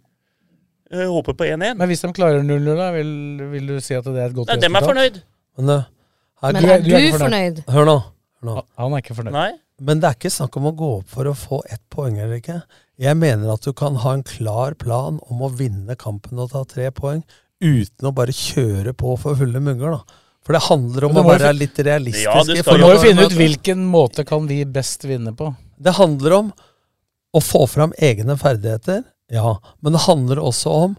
S7: Eh, Håpe på 1-1.
S4: Men hvis de klarer 0-0, da, vil, vil du si at det er et godt
S7: Nei, dem er fornøyd.
S6: Men, det- her-
S7: Men er Du- du er du ikke fornøyd? fornøyd?
S6: Hør nå. Hør nå.
S4: Han er ikke fornøyd.
S7: Nei.
S6: Men det er ikke snakk om å gå opp for å få ett poeng eller ikke. Jeg mener at du kan ha en klar plan om å vinne kampen og ta tre poeng, uten å bare kjøre på for fulle munger, da. For det handler om
S4: Men
S6: å
S4: du må jo
S6: være
S4: fi-
S6: litt realistisk. i
S4: Du
S6: forhold
S4: må jo
S6: til-
S4: finne ut hvilken måte kan vi best vinne på.
S6: Det handler om å få fram egne ferdigheter, ja. Men det handler også om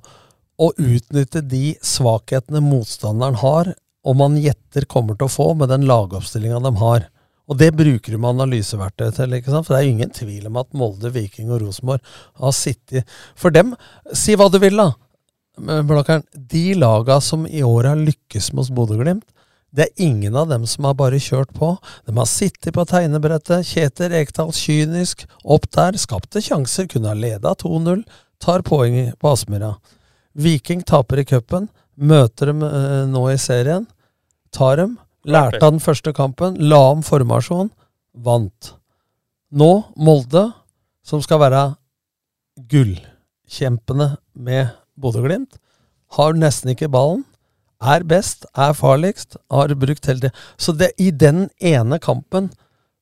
S6: å utnytte de svakhetene motstanderen har, og man gjetter kommer til å få med den lagoppstillinga de har. Og det bruker du med analyseverktøy til. ikke sant? For det er jo ingen tvil om at Molde, Viking og Rosenborg har sittet For dem Si hva du vil, da. Men Blakkaren, de laga som i år har lykkes mot Bodø-Glimt, det er ingen av dem som har bare kjørt på. De har sittet på tegnebrettet. Kjetil Rekdal kynisk opp der. Skapte sjanser, kunne ha leda 2-0. Tar poeng på Aspmyra. Viking taper i cupen. Møter dem eh, nå i serien. Tar dem. Lærte av den første kampen. La om formasjon. Vant. Nå Molde, som skal være gullkjempene med Bodø-Glimt. Har nesten ikke ballen. Er best, er farligst, har brukt hele tida. Så det, i den ene kampen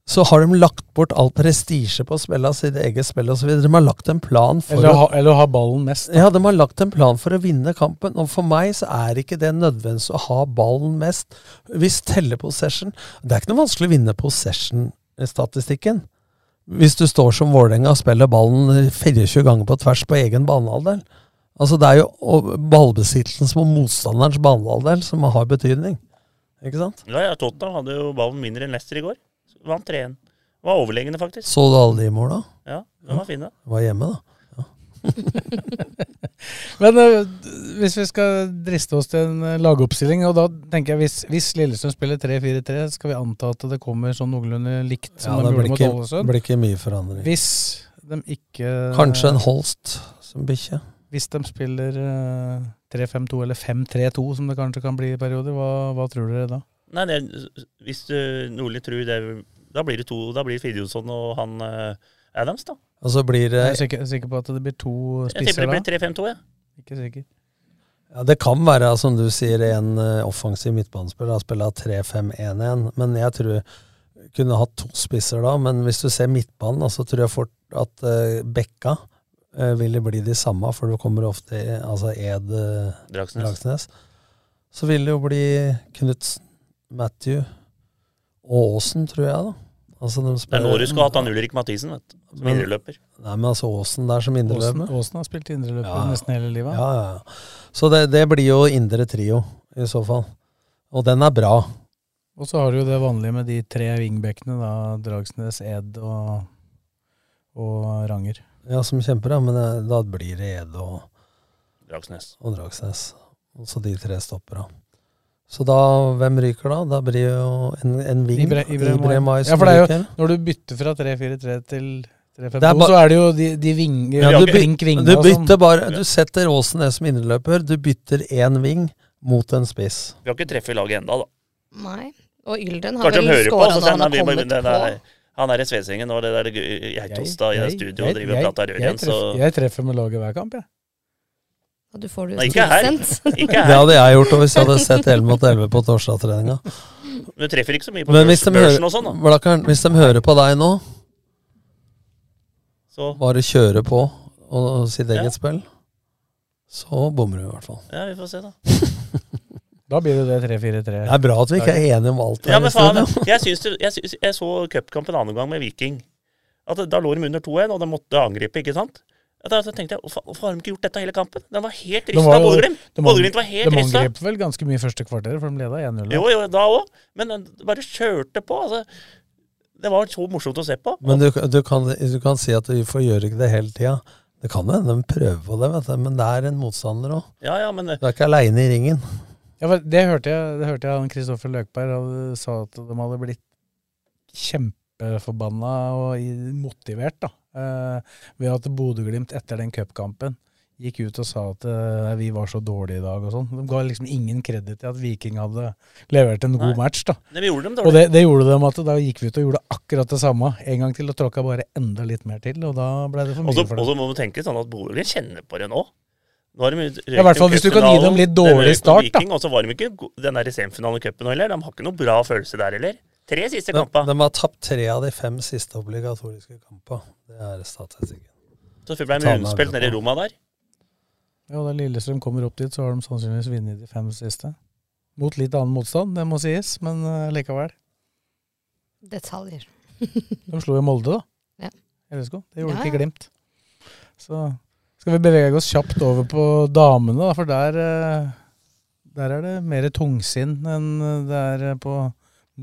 S6: så har de lagt bort all prestisje på spilla, sitt eget spill osv. De har lagt en plan for
S4: Eller
S6: å-
S4: ha, eller ha ballen mest.
S6: ja, de har lagt en plan for å vinne kampen, og for meg så er ikke det nødvendigvis å ha ballen mest. Hvis teller possession Det er ikke noe vanskelig å vinne possession-statistikken. Hvis du står som Vålerenga og spiller ballen 24 ganger på tvers på egen banehalvdel. Altså, det er jo og ballbesittelsen som er motstanderens banehalvdel som har betydning. Ikke sant?
S7: Ja, ja, Tottenham hadde jo ballen mindre enn Leicester i går. Vant 3-1. Var overlegne, faktisk.
S6: Så du alle de måla?
S7: Ja, de var fine.
S6: Var hjemme, da.
S4: Men eh, hvis vi skal driste oss til en eh, lagoppstilling, og da tenker jeg hvis, hvis Lillesund spiller 3-4-3, skal vi anta at det kommer sånn noenlunde likt som
S6: Ja,
S4: de
S6: det
S4: gjorde
S6: blir
S4: mot
S6: ikke,
S4: Ålesund?
S6: blir ikke mye forandring.
S4: Hvis de ikke
S6: Kanskje en Holst som bikkje.
S4: Hvis de spiller eh, 3-5-2 eller 5-3-2, som det kanskje kan bli i perioder, hva, hva tror dere da?
S7: Nei, det, hvis du Nordli tror det Da blir det to Da blir det Fridtjonsson og han eh, Adams, da.
S6: Og så blir det
S4: Jeg er sikker, sikker på at det blir to
S7: Jeg tipper
S4: spisser
S7: det
S4: da.
S7: blir 3-5-2, jeg.
S4: Ikke sikker.
S6: Ja, Det kan være, som du sier, en eh, offensiv midtbanespiller har spilla 3-5-1-1, men jeg tror kunne hatt to spisser da. Men hvis du ser midtbanen, da, så tror jeg fort at eh, Bekka eh, ville bli de samme, for du kommer ofte i altså Ed eh,
S7: Dragsnes.
S6: Dragsnes. Så vil det jo bli Knutsen, Matthew og Aasen, tror jeg, da. Altså, de
S7: Det er
S6: spiller-
S7: nå du skulle hatt han Ulrik Mathisen, vet du. Som
S6: Men-
S7: indreløper.
S6: Nei, men altså Aasen der som
S4: Åsen,
S6: indreløper.
S4: Åsen har spilt indreløper
S6: Ja, ja.
S4: nesten hele livet.
S6: Ja, ja, ja. Så det, det blir jo indre trio, i så fall. Og den er bra.
S4: Og så har du jo det vanlige med de tre wingbackene, da. Dragsnes, Ed og, og Ranger.
S6: Ja, som kjemper, ja. Men eh, da blir det Ede og,
S7: Dragsnes.
S6: og Dragsnes. Og så de tre stopper, da. Så da, hvem ryker da? Da blir jo en, en ving.
S4: Ibra- Ibrahim Ay.
S6: Ay
S4: Ja,
S6: som
S4: for det er jo,
S6: ryker.
S4: når du bytter fra 3-4-3 til 3-5-2,
S6: Det er ba-
S4: så er det jo de, de vinger
S6: Ja, du,
S4: de
S6: by,
S4: blink sånn. vinga
S6: du
S4: som-
S6: bytter bare Du setter Aasen ned som inneløper. Du bytter én ving mot en spiss.
S7: Vi har ikke treffet laget enda da.
S5: Nei. Og Ylden har
S7: Kanskje de
S5: vel
S7: hører på, og
S5: skåra
S7: så
S5: når han
S7: sender
S5: har
S7: vi med
S5: kommet
S7: den der
S5: på.
S7: Han er i Svesengen og det der gøy- Geitosta i
S4: Jeg-
S7: studio og
S4: jeg-
S7: driver og
S4: jeg-
S7: prater rør
S4: jeg
S7: igjen, så
S4: treffer- Jeg treffer med laget hver kamp, jeg.
S5: Og du får det
S7: Nei, ikke her.
S5: tilsendt.
S7: Ikke
S6: Det hadde jeg gjort hvis jeg hadde sett 11 mot 11 på torsdagstreninga.
S7: Men du treffer ikke så mye på
S6: Men
S7: børs-
S6: hvis de
S7: børsen
S6: hører-
S7: og sånn, da.
S6: Blakkaren, hvis de hører på deg nå,
S7: Så-
S6: bare kjøre på og, og sitt eget spill, så bommer du i hvert fall.
S7: Ja, vi får se, da.
S4: Da blir det det 3-4-3.
S6: Det er bra at vi ikke er enige om alt.
S7: Ja,
S6: her
S7: men
S6: i studio.
S7: faen, jeg, syns det, jeg, syns- jeg så cupkampen en annen gang med Viking. At Da lå de under 2-1, og de måtte angripe, ikke sant? Ja, Da så tenkte jeg hvorfor hvorfor har de ikke gjort dette hele kampen? Den var helt
S4: De
S7: rista,
S4: jo-
S7: Bodø-Glimt.
S4: de an-
S7: Bodø-Glimt var helt
S4: De
S7: rista.
S4: angrep vel ganske mye i første kvarter, for de leda 1-0.
S7: eh,
S4: da.
S7: Jo, jo, da òg. Men den bare kjørte på. Altså. Det var så morsomt å se på.
S6: Men du, du, kan, du kan si at vi får gjøre ikke det hele tida. Det kan hende de prøver på det, vet du, men det er en motstander òg.
S7: Ja, ja, men- eh,
S6: Du er ikke aleine i ringen.
S4: Ja, for det hørte jeg, det hørte jeg han Kristoffer Løkberg han sa at de hadde blitt kjempeforbanna og i- motivert da, eh, ved at Bodø-Glimt etter den cupkampen gikk ut og sa at eh, vi var så dårlige i dag og sånn. De ga liksom ingen kreditt til at Viking hadde levert en god
S7: Nei.
S4: match. da.
S7: Nei, vi gjorde dem dårlig.
S4: og det, det gjorde de at da gikk vi ut og gjorde akkurat det samme en gang til og tråkka bare enda litt mer til, og da ble det for mye
S7: Og så
S4: for
S7: og så
S4: dem.
S7: må du tenke sånn at Bodø kjenner på det nå. nå har de røykt
S4: Ja, i hvert fall hvis du kan gi dem
S7: cupfinalen,
S4: litt
S7: de
S4: dårlig
S7: røyk på
S4: start, da.
S7: Viking, Og så var de ikke go- den der semifinalen i cupen heller. De har ikke noe bra følelse der heller. Tre
S6: De,
S7: siste kamper.
S6: de har tapt tre av de fem siste obligatoriske kampene. Det er statistikken.
S7: Så ble
S6: Ta
S7: de
S6: den
S7: rundspilt
S6: av
S7: nede i Roma der.
S4: Ja, og da Lillestrøm kommer opp dit, så har de sannsynligvis vunnet de fem siste. Mot litt annen motstand, det må sies, men eh, likevel.
S5: Detaljer.
S4: De slo jo Molde, da.
S5: Ja.
S4: LSK. Det gjorde
S5: Ja,
S4: ikke
S5: ja.
S4: Glimt. Så skal vi bevege oss kjapt over på damene, da, for der, eh, der er det mer tungsinn enn eh, det er eh, på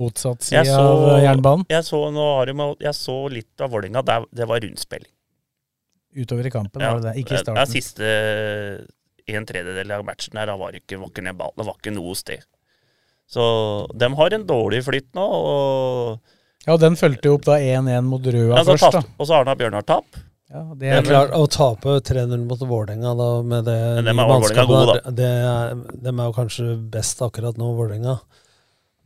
S4: motsatt side
S7: Jeg så,
S4: av eh, jernbanen.
S7: jeg så, nå har de, jeg så litt av Vålerenga. der- Det var rundspill.
S4: Utover i kampen, var det det? Ikke i
S7: det- Det er
S4: starten.
S7: siste en tredjedel av matchen her. Da var det ikke, var ikke ned ball. Det var ikke noe sted. Så de har en dårlig flytt nå. og...
S4: Ja, og den fulgte jo opp da 1-1 mot Røa
S7: Ja, så
S4: først,
S7: tapte-
S4: da.
S7: Og så Arna Bjørnar tap.
S4: det
S6: Det
S4: er
S6: er klart, Å tape 3-0 mot Vålerenga da, med det
S7: Men dem er
S6: nye
S7: jo
S6: mannskapet
S7: Vålerenga gode,
S6: der, det er, Dem er jo kanskje best akkurat nå, Vålerenga.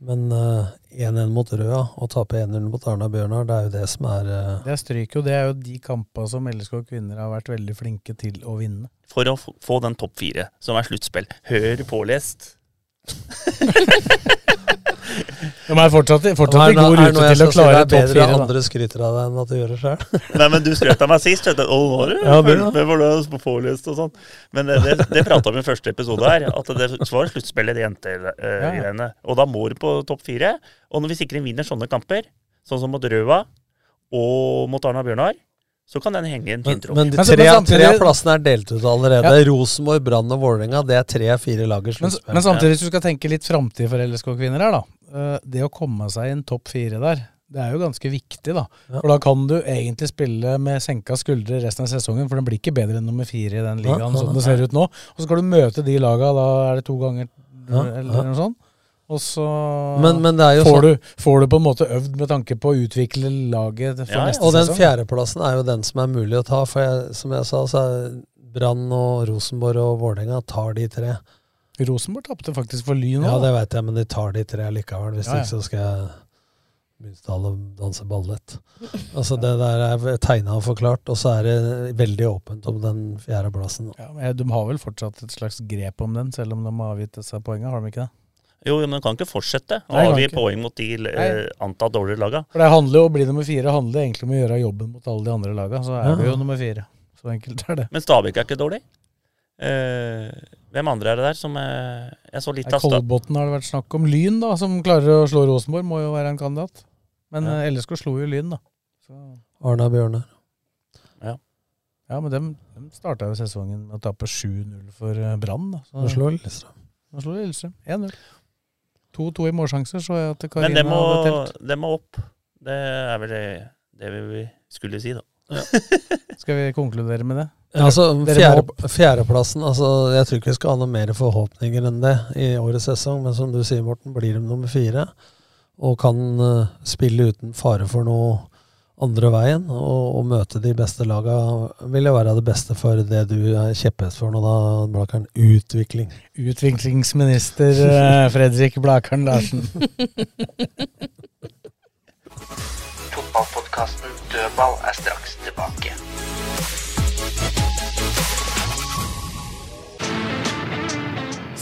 S6: Men eh, 1-1 mot Røa og tape 1-0 mot Arna Bjørnar, det er jo det som er eh,
S4: Det stryker jo. Det er jo de kampene som LSK kvinner har vært veldig flinke til å vinne.
S7: for å f- få den topp fire, som er sluttspill. Hør pålest.
S4: De er fortsatt,
S6: Er
S4: fortsatt i
S6: det noe-
S4: god
S6: er det
S4: rute
S6: noe jeg
S4: til å
S6: skal si
S4: klare
S6: Det er
S4: topp
S6: bedre at
S4: fire. da.
S6: andre skryter av deg enn at du gjør det sjøl.
S7: Nei, men du skrøt av meg sist. vet du. Å, nå har du
S6: Ja, det da.
S7: fulgt med for det på pålest og sånn. Men det, det, det prata vi om i første episode her, at det var sluttspillet i
S4: Ja, ja.
S7: jentegreiene. Og da må du på topp fire. Og når vi sikrer vinner sånne kamper, sånn som mot Røa og mot Arna Bjørnar, så kan den henge en
S6: Men,
S7: fin tråd.
S6: men de
S4: Men så-
S6: tre,
S4: men samtidig-
S6: tre av plassene er delt ut allerede.
S4: Ja.
S6: Rosenborg, Brann og Vålerenga, det er tre av fire lag i
S4: Men,
S6: sluttspill.
S4: men samtidig, hvis du skal tenke litt framtid for LSK-kvinner her, da. eh, Det å komme seg i en topp fire der, det er jo ganske viktig, da.
S6: Ja.
S4: For da kan du egentlig spille med senka skuldre resten av sesongen, for den blir ikke bedre enn nummer fire i den
S6: Ja,
S4: ligaen
S6: ja,
S4: sånn som det ser ut nå. Og så skal du møte de laga, da er det to ganger
S6: Ja, ja.
S4: eller noe sånt. Og så
S6: Men- men det er jo sånn-
S4: får, du, får du på en måte øvd med tanke på å utvikle laget for neste
S6: Og den
S4: sesong.
S6: fjerdeplassen er jo den som er mulig å ta. For jeg, som jeg sa, så er Brann og Rosenborg og Vålerenga tar de tre.
S4: Rosenborg tapte faktisk for Lyn nå.
S6: Ja,
S4: da.
S6: det veit jeg, men de tar de tre likevel. Hvis
S4: Ja, ja.
S6: ikke så skal jeg begynne å danse ballett. Altså Det der er tegna og forklart, og så er det veldig åpent om den fjerdeplassen.
S4: Ja, men De har vel fortsatt et slags grep om den, selv om de har avgitt disse poengene, har de ikke det?
S7: Jo, men den kan ikke fortsette. Nå
S4: Nei,
S7: har
S4: kan
S7: vi
S4: ikke.
S7: poeng mot de eh,
S4: Nei.
S7: antatt dårligere laga.
S4: For det handler jo, Å bli nummer fire handler egentlig om å gjøre jobben mot alle de andre laga. Så er
S6: Ja.
S4: du jo nummer fire. Så enkelt er det.
S7: Men Stabæk er ikke dårlig. Eh, hvem andre er det der som eh, Jeg så litt
S4: Er
S7: av Stabæk.
S4: Kolbotn har det vært snakk om. Lyn, da, som klarer å slå Rosenborg, må jo være en kandidat. Men
S7: Ja.
S4: eh, LSK slo jo Lyn, da. Så,
S6: Arna Bjørnar.
S4: ja, men dem, dem starta jo sesongen med å tape 7-0 for eh, Brann. da. Så-
S6: Nå slår Lillestrøm.
S4: Nå slo Lillestrøm 1-0. 2-2 i målsjanser, så jeg at
S7: Men
S4: Karina
S7: det må,
S4: hadde telt.
S7: det må opp. Det er vel det, det vi skulle si, da.
S4: Skal vi konkludere med det?
S6: Ja, altså,
S4: Dere må opp.
S6: fjerde, fjerdeplassen altså, Jeg tror ikke vi skal ha noe mer forhåpninger enn det i årets sesong, men som du sier, Morten, blir de nummer fire og kan eh, spille uten fare for noe andre veien. Og, og møte de beste laga vil jo være det beste for det du er kjepphest for nå, da, Blakkern. Utvikling.
S4: Utviklingsminister eh, Fredrik Blakern Larsen.
S3: Fotballpodkasten Dødball er straks tilbake.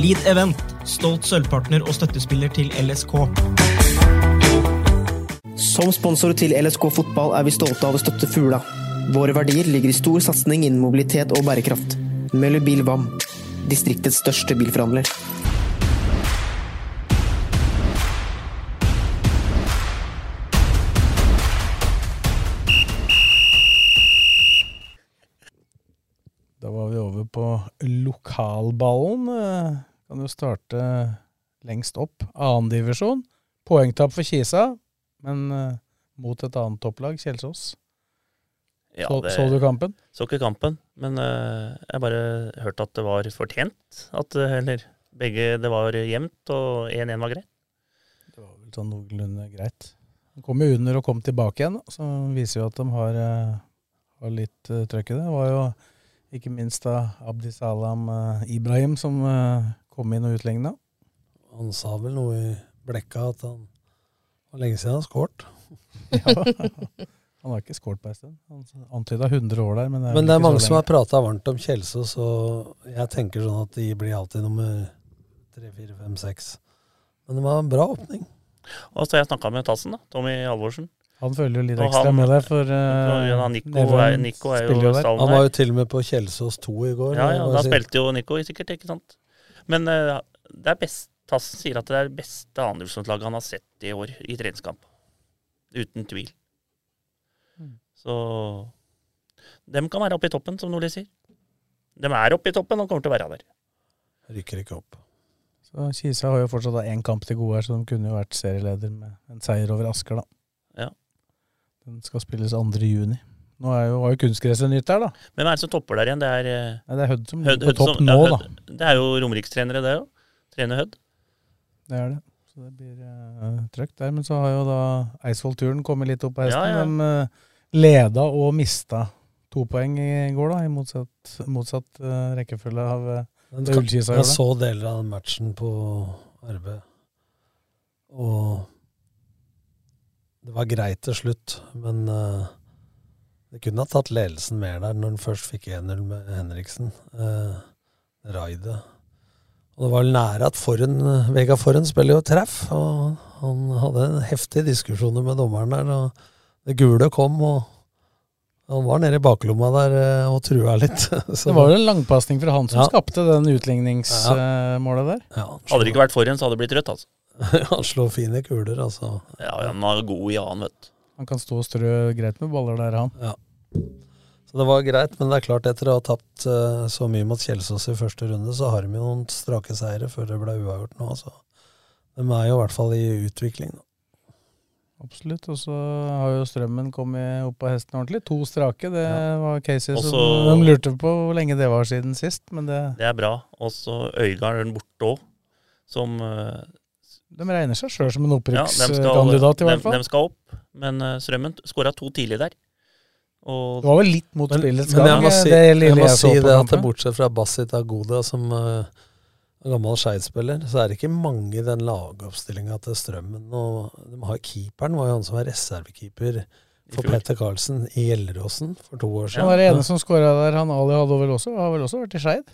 S1: Lead Event, stolt sølvpartner og støttespiller til LSK.
S2: Som sponsor til LSK fotball er vi stolte av å støtte Fula. Våre verdier ligger i stor satsing innen mobilitet og bærekraft. Møller Bil VAM, distriktets største bilforhandler.
S4: Da var vi over på lokalballen. Eh, Kan jo starte lengst opp. Annendivisjon. Poengtap for Kisa, men eh, mot et annet topplag, Kjelsås.
S7: Ja,
S4: så,
S7: det-
S4: så du kampen?
S7: Så ikke kampen, men øh, jeg bare hørte at det var fortjent. At, øh, eller begge Det var jevnt, og 1-1 var greit.
S4: vel sånn noenlunde greit. De kom jo under og kom tilbake igjen, så viser jo at de har, eh, har litt eh, trøkk i det. Det var jo ikke minst da Abdi Salam eh, Ibrahim som eh, kom inn og utligna.
S6: Han sa vel noe i blekka at han var lenge siden han har skåret.
S4: Han har ikke skåret på en stund. Han antyda 100 år der, men det er,
S6: Men det er mange som
S4: har
S6: har prata varmt om Kjelsås, og jeg tenker sånn at de blir alltid nummer tre, fire, fem, seks. Men det var en bra åpning.
S7: Og så har jeg snakka med Tassen, da, Tommy Alvorsen.
S4: Han følger jo litt
S7: Og
S4: ekstra
S7: han-
S4: med der, for eh,
S7: Ja, Nico
S4: Nevøen
S7: er- Nico er jo
S4: spiller der.
S7: stallen
S6: Han var jo til og med på Kjelsås 2 i går.
S7: Ja, ja,
S6: må jeg
S7: da
S6: si.
S7: spilte jo Nico sikkert, ikke sant. Men øh, det er best, Tassen sier at det er det beste andredivisjonslaget han har sett i år i treningskamp. Uten tvil. Så dem kan være oppe i toppen, som Nordli sier. De er oppe i toppen og kommer til å være der.
S6: Rykker ikke opp.
S4: Så Kisa har jo fortsatt da én kamp til gode her, så de kunne jo vært serieleder med en seier over Asker, da.
S7: Ja.
S4: Den skal spilles 2. juni. Nå er jo, var jo kunstgresset nytt der, da.
S7: Hvem er det som topper der igjen? Det er, eh,
S4: Nei, det er Hødd som
S7: Hødd-
S4: ligger på
S7: Hødd
S4: topp nå,
S7: ja, Hødd. Det er jo romerikstrenere, det òg. Trener Hødd.
S4: Det er det. Så det blir eh, trøkk der. Men så har jo da Eidsvoll-turen kommet litt opp på hesten.
S7: Ja, ja.
S4: De eh, leda og mista to poeng i går, da, i motsatt, motsatt eh, rekkefølge av eh,
S6: Men
S4: det Ullkisa
S6: Jeg
S4: gjorde.
S6: så deler av den matchen på RB. Og det var greit til slutt, men eh, det kunne ha tatt ledelsen mer der når den først fikk 1-0 med Henriksen. Uh, Raidet. Og det var vel nære at Forhen, Vega Forhen spiller jo treff, og han hadde heftige diskusjoner med dommeren der. og Det gule kom, og han var nede i baklomma der eh, og trua litt. Så
S4: Det var jo en langpasning fra han som
S6: Ja.
S4: skapte den utligningsmålet eh, der.
S7: Hadde det ikke vært forhånd, så hadde det blitt rødt, altså.
S6: Han slår fine kuler, altså.
S7: Ja, Han var god i annen, vet du.
S4: Han kan stå og strø greit med baller der, han.
S6: Så det var greit, men det er klart etter å ha tapt eh, så mye mot Kjelsås i første runde, så har de jo noen strake seire før det ble uavgjort nå. Så de er jo i hvert fall i utvikling nå.
S4: Absolutt. Og så har jo strømmen kommet opp av hesten ordentlig. To strake, det var cases
S7: Og
S4: som
S7: så-
S4: de lurte på hvor lenge det var siden sist. Men det,
S7: Det er bra. Og så Øygarden borte òg, som eh,
S4: de regner seg sjøl som en
S7: ja, dem skal-
S4: opprykkskandidat, i
S7: dem-
S4: hvert fall.
S7: dem skal opp, men eh, Strømmen skåra to tidlig der. Og
S4: Det var vel litt mot spillets
S6: Men jeg
S4: gang, eh,
S6: må si,
S4: det lille
S6: jeg må
S4: jeg så
S6: si
S4: på
S6: det at
S4: kampen.
S6: bortsett fra Basit Agoda, som eh, er gammel Skeid-spiller, så er det ikke mange i den lagoppstillinga til Strømmen. Og de har keeperen var jo han som var reservekeeper for Petter Karlsen i Gjelleråsen for to år
S4: Han
S6: siden.
S4: var det ene som skåra der, han Ali hadde vel også, har vel også vært i Skeid?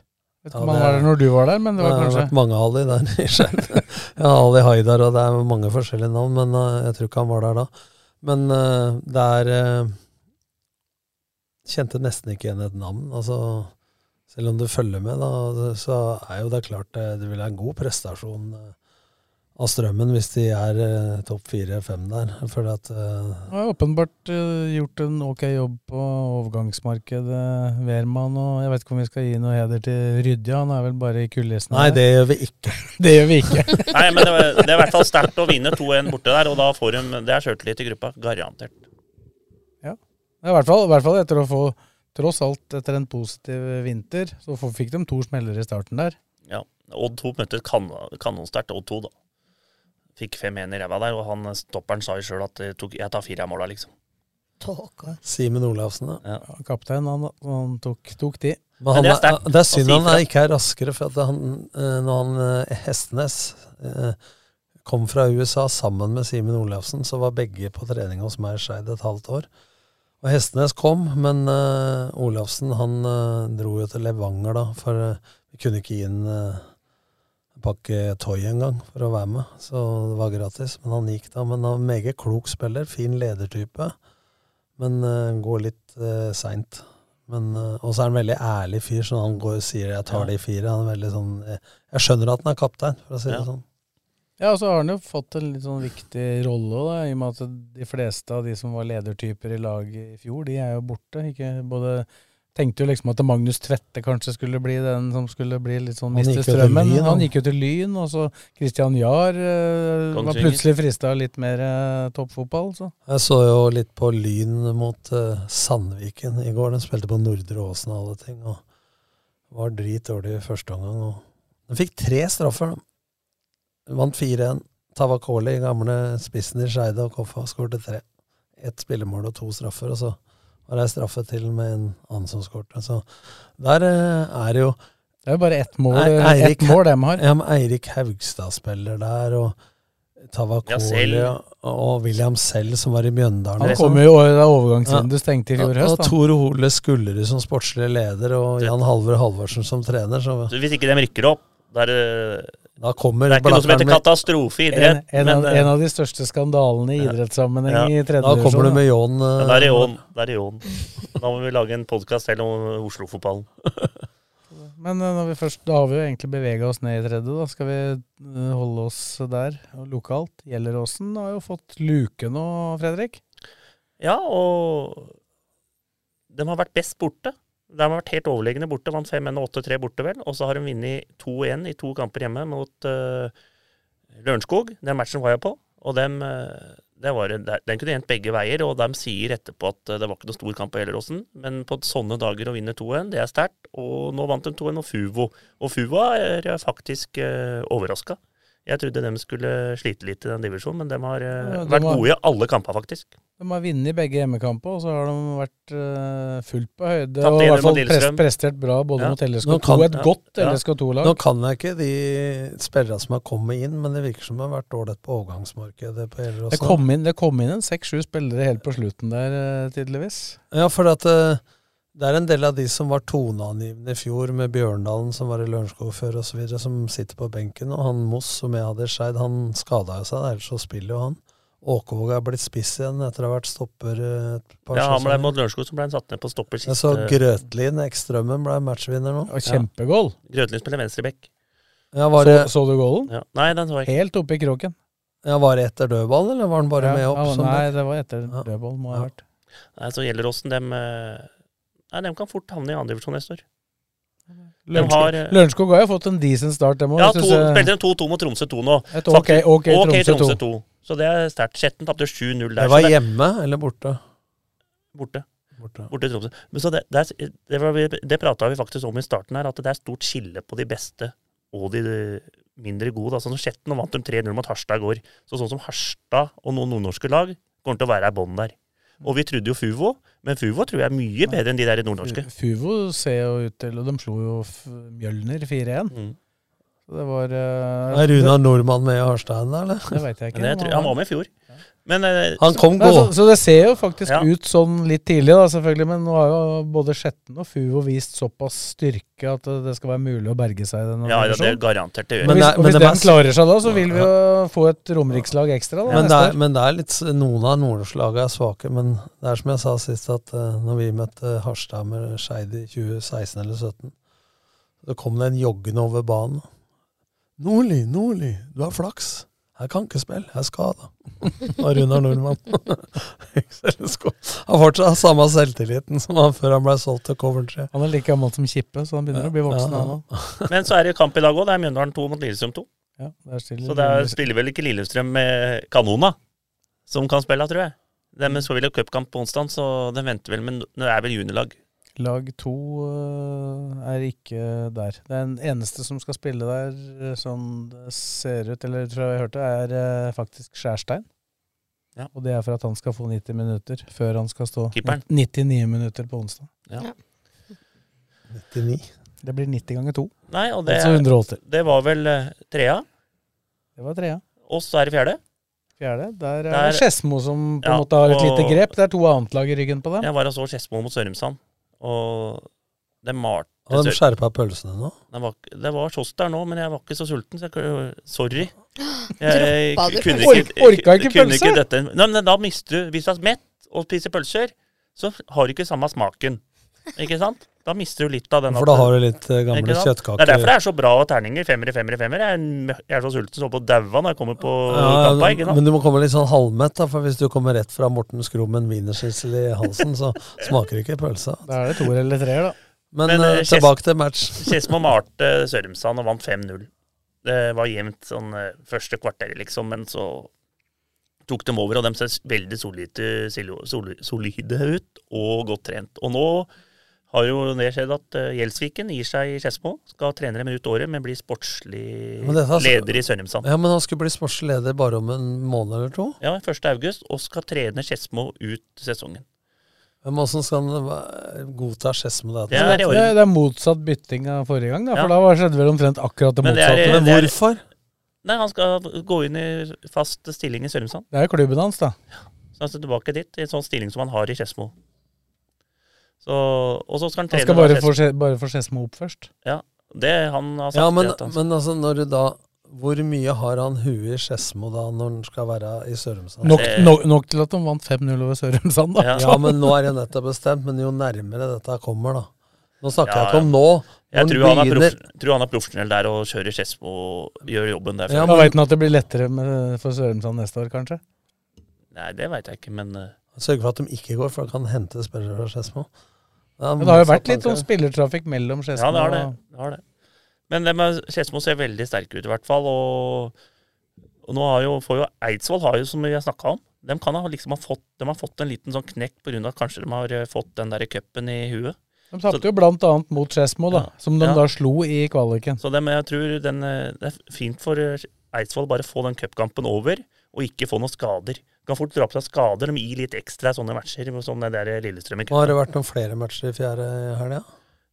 S4: Vet ikke om han var der når du var der, men det var
S6: har
S4: kanskje
S6: vært mange Ali der. i Skeid. ja, Ali Haidar, og det er mange forskjellige navn, men eh, jeg tror ikke han var der da. Men eh, det er eh, Kjente nesten ikke igjen et navn. altså Selv om du følger med, da, så er jo det klart det, det vil være en god prestasjon eh, av Strømmen hvis de er eh, topp fire-fem der. For at eh,
S4: Han har åpenbart eh, gjort en ok jobb på overgangsmarkedet, Wehrmann, og jeg vet ikke om vi skal gi noe heder til Rydja, han er vel bare i kulissene.
S6: Nei,
S4: der.
S6: det gjør vi ikke.
S4: det gjør vi ikke.
S7: Nei, men det, var- det er i hvert fall sterkt å vinne 2-1 borte der, og da får de Det er sjøltillit i gruppa, garantert.
S4: Ja, I hvert fall, i hvert fall etter å få, tross alt etter en positiv vinter, så få- fikk de to smeller i starten der.
S7: Ja. Odd 2 møtte et kan kanonsterkt Odd 2, da. Fikk 5-1 i ræva der, og han eh, stopperen sa jo sjøl at det tok, 'jeg tar fire av måla', liksom.
S6: Simen Olavsen, da.
S4: Ja, Kaptein, han, han tok, tok de.
S6: Men han, det, er det er synd han er ikke er raskere, for at han, eh, når han eh, Hestenes eh, kom fra USA sammen med Simen Olafsen, så var begge på trening hos meg i Skeid et halvt år. Og Hestenes kom, men eh, Olafsen han eh, dro jo til Levanger da, for eh, vi kunne ikke gi ham eh, pakke toy en gang for å være med, så det var gratis. Men han gikk da. Men han er en meget klok spiller, fin ledertype, men eh, går litt uh, seint. eh, Og så er han en veldig ærlig fyr, så han går og sier 'jeg tar de fire'. Han er veldig sånn, eh, jeg skjønner at han er kaptein, for å si det
S4: Ja.
S6: sånn.
S4: Ja, og så har han jo fått en litt sånn viktig rolle også, da, i og med at de fleste av de som var ledertyper i laget i fjor, de er jo borte. Ikke både Tenkte jo liksom at Magnus Tvedte kanskje skulle bli den som skulle bli litt
S6: Han
S4: sånn miste
S6: gikk jo til
S4: strømmen.
S6: Lyn,
S4: han
S6: han.
S4: gikk jo til Lyn, og så Christian Jahr eh, var
S6: Kongsvinger.
S4: plutselig frista litt mer eh, toppfotball, så.
S6: Jeg så jo litt på Lyn mot eh, Sandviken i går. De spilte på Nordre Åsen og alle ting. Og var dritdårlig i første omgang. Og de fikk tre straffer. De vant 4-1. Tavakoli, gamle spissen i Skeide og Koffa, skårte tre. Ett spillemål og to straffer. Og så var det ei straffe til med en annen som skårte. Så der eh, er det jo
S4: Det er jo bare ett mål,
S6: Ei- Eirik-
S4: ett mål de har.
S6: Ja, men Eirik Haugstad spiller der, og Tavakoli
S4: Jassel.
S6: og- og William selv, som var i Mjøndalen.
S4: Han
S6: og
S4: kom
S6: sånn.
S4: jo i det overgangsvinduet stengte i fjor høst,
S6: Og
S4: da.
S6: Tor Ole Skullerud som sportslig leder, og Jan Halvor Halvorsen som trener. Så
S7: Så hvis ikke de rykker opp, da er det
S6: da kommer
S7: Det er ikke noe som
S6: Blattmann
S7: heter
S6: med-
S7: katastrofe i
S4: En,
S7: idrett.
S4: en, av,
S7: men, eh,
S4: en av de største skandalene i idrettssammenheng
S7: Ja.
S4: i tredje
S6: Da kommer du
S4: divisjon,
S6: med Jon, eh,
S7: Ja, da er det Jon. Da er det Jon. Da må vi lage en podkast selv om Oslo-fotballen.
S4: Men eh, når vi først, da har vi jo egentlig bevega oss ned i tredje. Da skal vi eh, holde oss der og lokalt. Gjelleråsen har jo fått luke nå, Fredrik.
S7: Ja, og de har vært best borte. De har vært helt overlegne borte. Vant 5-1 og 8-3 borte, vel. Og så har de vunnet 2-1 i to kamper hjemme mot eh, Lørenskog. Den matchen var jeg på. Og dem, eh, det var, en- den kunne endt begge veier. Og de sier etterpå at eh, det var ikke noe stor kamp på Gjelleråsen. Men på sånne dager å vinne 2-1, det er sterkt. Og nå vant de 2-1 og Fuvo. Og Fuvo er eh, faktisk uh, overraska. Jeg trodde de skulle slite litt i den divisjonen, men de har eh,
S4: Ja, de
S7: vært
S4: har-
S7: gode i alle kamper, faktisk.
S4: De har vunnet begge hjemmekamper, og så har de vært eh, fullt på høyde.
S7: Tapt
S4: Og i
S7: ener
S4: hvert
S7: mot
S4: fall pres-
S7: Lillestrøm.
S4: prestert bra både
S7: Ja.
S4: mot LSK2
S6: Nå kan-
S4: og et
S6: ja.
S4: godt
S6: Ja.
S4: LSK2-lag.
S6: Nå kan jeg ikke de spillerne som har kommet inn, men det virker som de har vært ålreit på overgangsmarkedet. på Gjelleråsen.
S4: Det kom inn, det kom inn en seks-sju spillere helt på slutten der, eh, tydeligvis.
S6: Ja, for at eh, det er en del av de som var toneangivende i fjor, med Bjørndalen som var i Lørenskog før osv., som sitter på benken. Og han Moss, som jeg hadde i Skeid, han skada jo seg, ellers så spiller jo han. Åkevåg er blitt spiss igjen etter å ha vært stopper eh, et par
S7: Ja, han ble
S6: sesonger.
S7: mot Lørenskog, så ble han satt ned på stopper eh, siste
S6: Jeg så Grøtlin, ekstrømmen, ble matchvinner nå.
S4: Og kjempegål.
S7: Ja. Grøtlin spiller venstreback.
S6: Ja, var
S4: så,
S6: det-
S4: så du gålen?
S7: Ja. Nei, den så jeg ikke.
S4: Helt oppe i kråken.
S6: Ja, var det etter dødball, eller var han bare
S4: Ja,
S6: med opp?
S4: ja,
S6: som-
S4: nei, det var etter dødball, må ha vært.
S7: Nei, så Gjelleråsen, dem eh, Nei, dem kan fort havne i andredivisjon neste år. De
S4: Lørenskog
S7: har, eh,
S4: Lørenskog har jo fått en decent start. dem også,
S7: Ja,
S4: jeg
S7: to,
S4: synes eh, jeg-
S7: spilte de 2-2 mot Tromsø 2 nå.
S4: Et ok-
S7: Faktisk-
S4: ok Tromsø
S7: Tromsø
S4: 2.
S7: 2. Så det er sterkt. Skjetten tapte 7-0
S6: Det
S7: der. så
S6: var hjemme eller borte?
S7: Borte.
S6: Borte.
S7: Borte i Tromsø. Men så det, det, er- det, var vi- det prata vi faktisk om i starten her, at det er stort skille på de beste og de mindre gode. Altså, Skjetten nå vant de 3-0 mot Harstad i går. Så sånn som Harstad og noen nordnorske lag kommer til å være i bånn der. Og vi trodde jo Fuvo, men Fuvo tror jeg er mye bedre enn de der nordnorske.
S4: Eh, Fuvo ser jo ut til Og de slo jo F- Mjølner 4-1.
S7: Mm.
S4: Så det var eh,
S6: Er Runar
S4: det-
S6: Nordmann med i Harstein, eller?
S4: Det vet jeg ikke.
S7: Men jeg tror, han var med i fjor. Men, eh,
S6: Han kom
S4: Nei, så,
S6: gå.
S4: så det ser jo faktisk
S7: Ja.
S4: ut sånn litt tidlig, da, selvfølgelig. Men nå har jo både Skjetten og Fuvo vist såpass styrke at det skal være mulig å berge seg. i denne
S7: Ja, ja, det
S4: divisjonen.
S7: er garantert det gjør.
S4: Og
S6: Men
S4: hvis,
S6: det er-
S4: og
S6: men
S4: hvis
S6: det
S4: den
S6: mest-
S4: klarer seg da, så vil vi jo få et romerikslag ekstra. Da,
S6: Men det,
S4: neste
S6: er, men det er litt, noen av nordnorslagene er svake, men det er som jeg sa sist, at eh, når vi møtte Harstad med Skeid i 2016 eller 2017, så kom det en joggende over banen. Nordli, Nordli, du har flaks. Jeg kan ikke spille, jeg er skada. Og Runar Nordmann. Han fortsatt har samme selvtilliten som han før han ble solgt til Coventry.
S4: Han er like gammel som Kippe, så han begynner å bli voksen, han òg.
S7: Men så er det kamp i dag òg. Det er Mjøndalen 2 mot Lillestrøm 2.
S4: Ja, der stiller
S7: så der
S4: Lillestrøm.
S7: spiller vel ikke Lillestrøm med Kanona, som kan spille, tror jeg. De
S6: Mm.
S7: men så vil ha cupkamp på onsdag, så de venter vel. Men det er vel juniorlag.
S4: Lag to øh, er ikke der. Det er en eneste som skal spille der, øh, sånn det ser ut, eller fra hva jeg hørte, er øh, faktisk Skjærstein.
S7: Ja.
S4: Og det er for at han skal få 90 minutter før han skal stå
S7: Keeperen.
S4: 99 minutter på onsdag.
S7: Ja.
S6: 99.
S4: Det blir 90 ganger 2.
S7: Nei, og det,
S4: altså 180.
S7: det var vel eh, trea.
S4: Det var trea.
S7: Og så er det fjerde.
S4: Fjerde. Der
S7: Der-
S4: er det Skedsmo som på en
S7: Ja,
S4: måte har et
S7: og-
S4: lite grep. Det er to annet lag i ryggen på dem.
S7: Jeg var og så Skedsmo mot Sørumsand, og de malte
S6: Har de skjerpa pølsene nå?
S7: Det var, det var kiosk der nå, men jeg var ikke så sulten, så jeg kunne- Sorry.
S6: Droppa du
S7: kunne
S6: pølse?
S7: ikke-
S6: Ork- orka ikke
S7: kunne
S6: pølse?
S7: dette. Nei, men da mister du Hvis du er mett og spiser pølser, så har du ikke samme smaken. Ikke sant? Da mister du litt av den
S6: For da
S7: at-
S6: har du litt, eh, gamle
S7: Ikke sant?
S6: kjøttkaker.
S7: Det er derfor det er så bra å ha terninger. Femmere, femmere, femmere. Jeg er, mø- jeg er så sulten så på daua når jeg kommer på
S6: Ja,
S7: kampa. Ikke sant?
S6: men du må komme litt sånn halvmett, da, for hvis du kommer rett fra Morten Skrummen wienersissel i halsen, så smaker ikke pølsa.
S4: Da er det toer eller treer, da.
S6: Men,
S7: eh,
S6: eh,
S7: Skedsmo-
S6: tilbake til match.
S7: Skedsmo malte eh, Sørumsand og vant 5-0. Det var jevnt sånn eh, første kvarter, liksom, men så tok dem over, og de ser veldig solide, silo- soli- solide ut og godt trent. Og nå har jo det skjedd at eh, Gjelsviken gir seg i Skedsmo. Skal trene dem ut året, men blir sportslig
S6: Men dette er-
S7: leder i Sørumsand.
S6: Ja, men han skulle bli sportslig leder bare om en måned eller to.
S7: Ja, 1. august, og skal trene Skedsmo ut sesongen.
S6: Men hvordan skal han være- godta Skedsmo det? at-
S4: Det er, det, er, motsatt bytting av forrige gang, da, for da skjedde vel omtrent akkurat det
S7: Men det er-
S4: motsatte.
S7: Men det er-
S6: hvorfor?
S7: Nei, han skal gå inn i fast stilling i Sørumsand.
S4: Det er jo klubben hans, da.
S7: Så han skal tilbake dit i en sånn stilling som han har i Skedsmo. Så, og så skal han
S4: Han
S7: trene
S4: skal
S7: da
S4: bare få
S7: Skedsmo.
S4: Ske- bare få Skedsmo opp først.
S7: Ja, det han har sagt.
S6: Ja, men,
S7: det at han-
S6: men altså, når du da Hvor mye har han huet i Skedsmo da, når han skal være i Sørumsand?
S4: Nok, nok, nok til at de vant 5-0 over Sørumsand, da.
S6: Ja. men nå er det nettopp bestemt. Men jo nærmere dette kommer, da. Nå snakker
S7: Ja,
S6: jeg ikke om nå.
S7: Jeg
S6: når
S7: tror han, er
S6: begynner-
S7: proff, tror han er profesjonell der og kjører Skedsmo og gjør jobben der.
S4: Da veit han at det blir lettere med, for Sørumsand neste år, kanskje.
S7: Nei, det veit jeg ikke, men eh,
S6: Sørge for at de ikke går, for da kan han hente spillere fra Skedsmo. Ja,
S4: Men det har jo vært
S6: motsatt
S4: litt sånn
S6: tanke.
S4: spillertrafikk mellom Skedsmo
S7: Ja, det har det.
S4: og
S7: det, har det. Men det med Skedsmo ser veldig sterke ut, i hvert fall. Og, og nå har jo, får jo Eidsvoll, har jo, som vi har snakka om de, kan ha, liksom ha fått, de har fått en liten sånn knekk pga. at kanskje de har eh, fått den der cupen i huet.
S4: De tapte jo blant annet mot Skedsmo, da, som de
S7: Ja.
S4: da slo i kvaliken.
S7: Så dem, jeg tror den, eh, det er fint for eh, Eidsvoll bare å få den cupkampen over, og ikke få noen skader. Kan fort dra på seg skader. De gir litt ekstra i sånne matcher, som den der Lillestrøm i
S6: Nå har
S7: cupen.
S6: det vært noen flere matcher i fjerde i helga.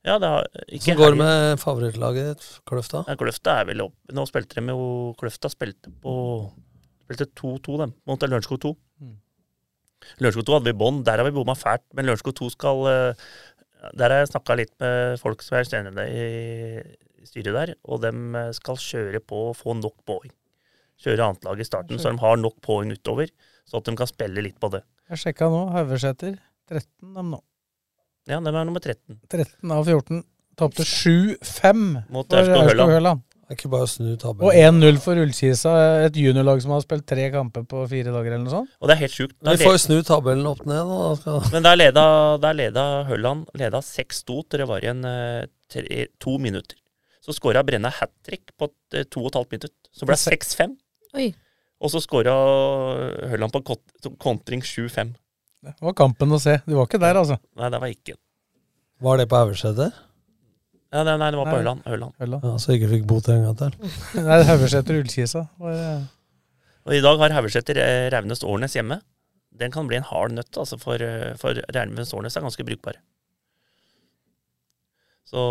S7: Ja, det har,
S6: Som
S7: ikke
S6: går
S7: helgen.
S6: med favorittlaget ditt, Kløfta.
S7: Ja, Kløfta er vel opp. Nå spilte de jo Kløfta spilte på Spilte 2-2, dem, mot Lørenskog 2. Lørenskog 2 hadde vi bånd. Der har vi bomma fælt. Men Lørenskog 2 skal eh, Der har jeg snakka litt med folk som er enig med deg i styret der, og dem eh, skal kjøre på og få nok poeng. Kjøre annetlag i starten, så de har nok poeng utover. Så at de kan spille litt på det.
S4: Jeg sjekka nå, Haugeseter 13 dem nå.
S7: Ja, de er nummer 13.
S4: 13 av 14. Tapte 7-5
S7: Mot
S4: for
S7: Aurskog
S4: Aurskog
S7: Høland.
S4: Høland.
S6: Det er ikke bare å snu tabben.
S4: Og 1-0 for Ullkisa, et juniorlag som har spilt tre kamper på fire dager eller noe sånt.
S7: Og det er helt sjukt. Da
S6: Vi får
S7: le-
S6: jo snu tabellen opp ned, da. da. skal-
S7: Men der leda, der leda Hølland leda 6-2 til det var igjen eh, tre, to minutter. Så skåra Brenna hat trick på eh, to og et halvt minutt. Så ble det 6-5.
S5: Oi.
S7: Og så skåra Hølland på kont- kontring 7-5.
S4: Det var kampen å se. Du var ikke der, altså.
S7: Nei, det var ikke
S6: Var det på Haugeseter?
S7: ja, nei, nei, det var på
S4: Nei.
S7: Hølland. Hølland.
S6: Ja, så ikke fikk bot en gang til.
S4: Nei, Haugeseter Ullkisa. var det-
S7: Og i dag har Haugeseter eh, Raunes Årnes hjemme. Den kan bli en hard nøtt, altså, for, eh, for Raunes Årnes er ganske brukbare. Så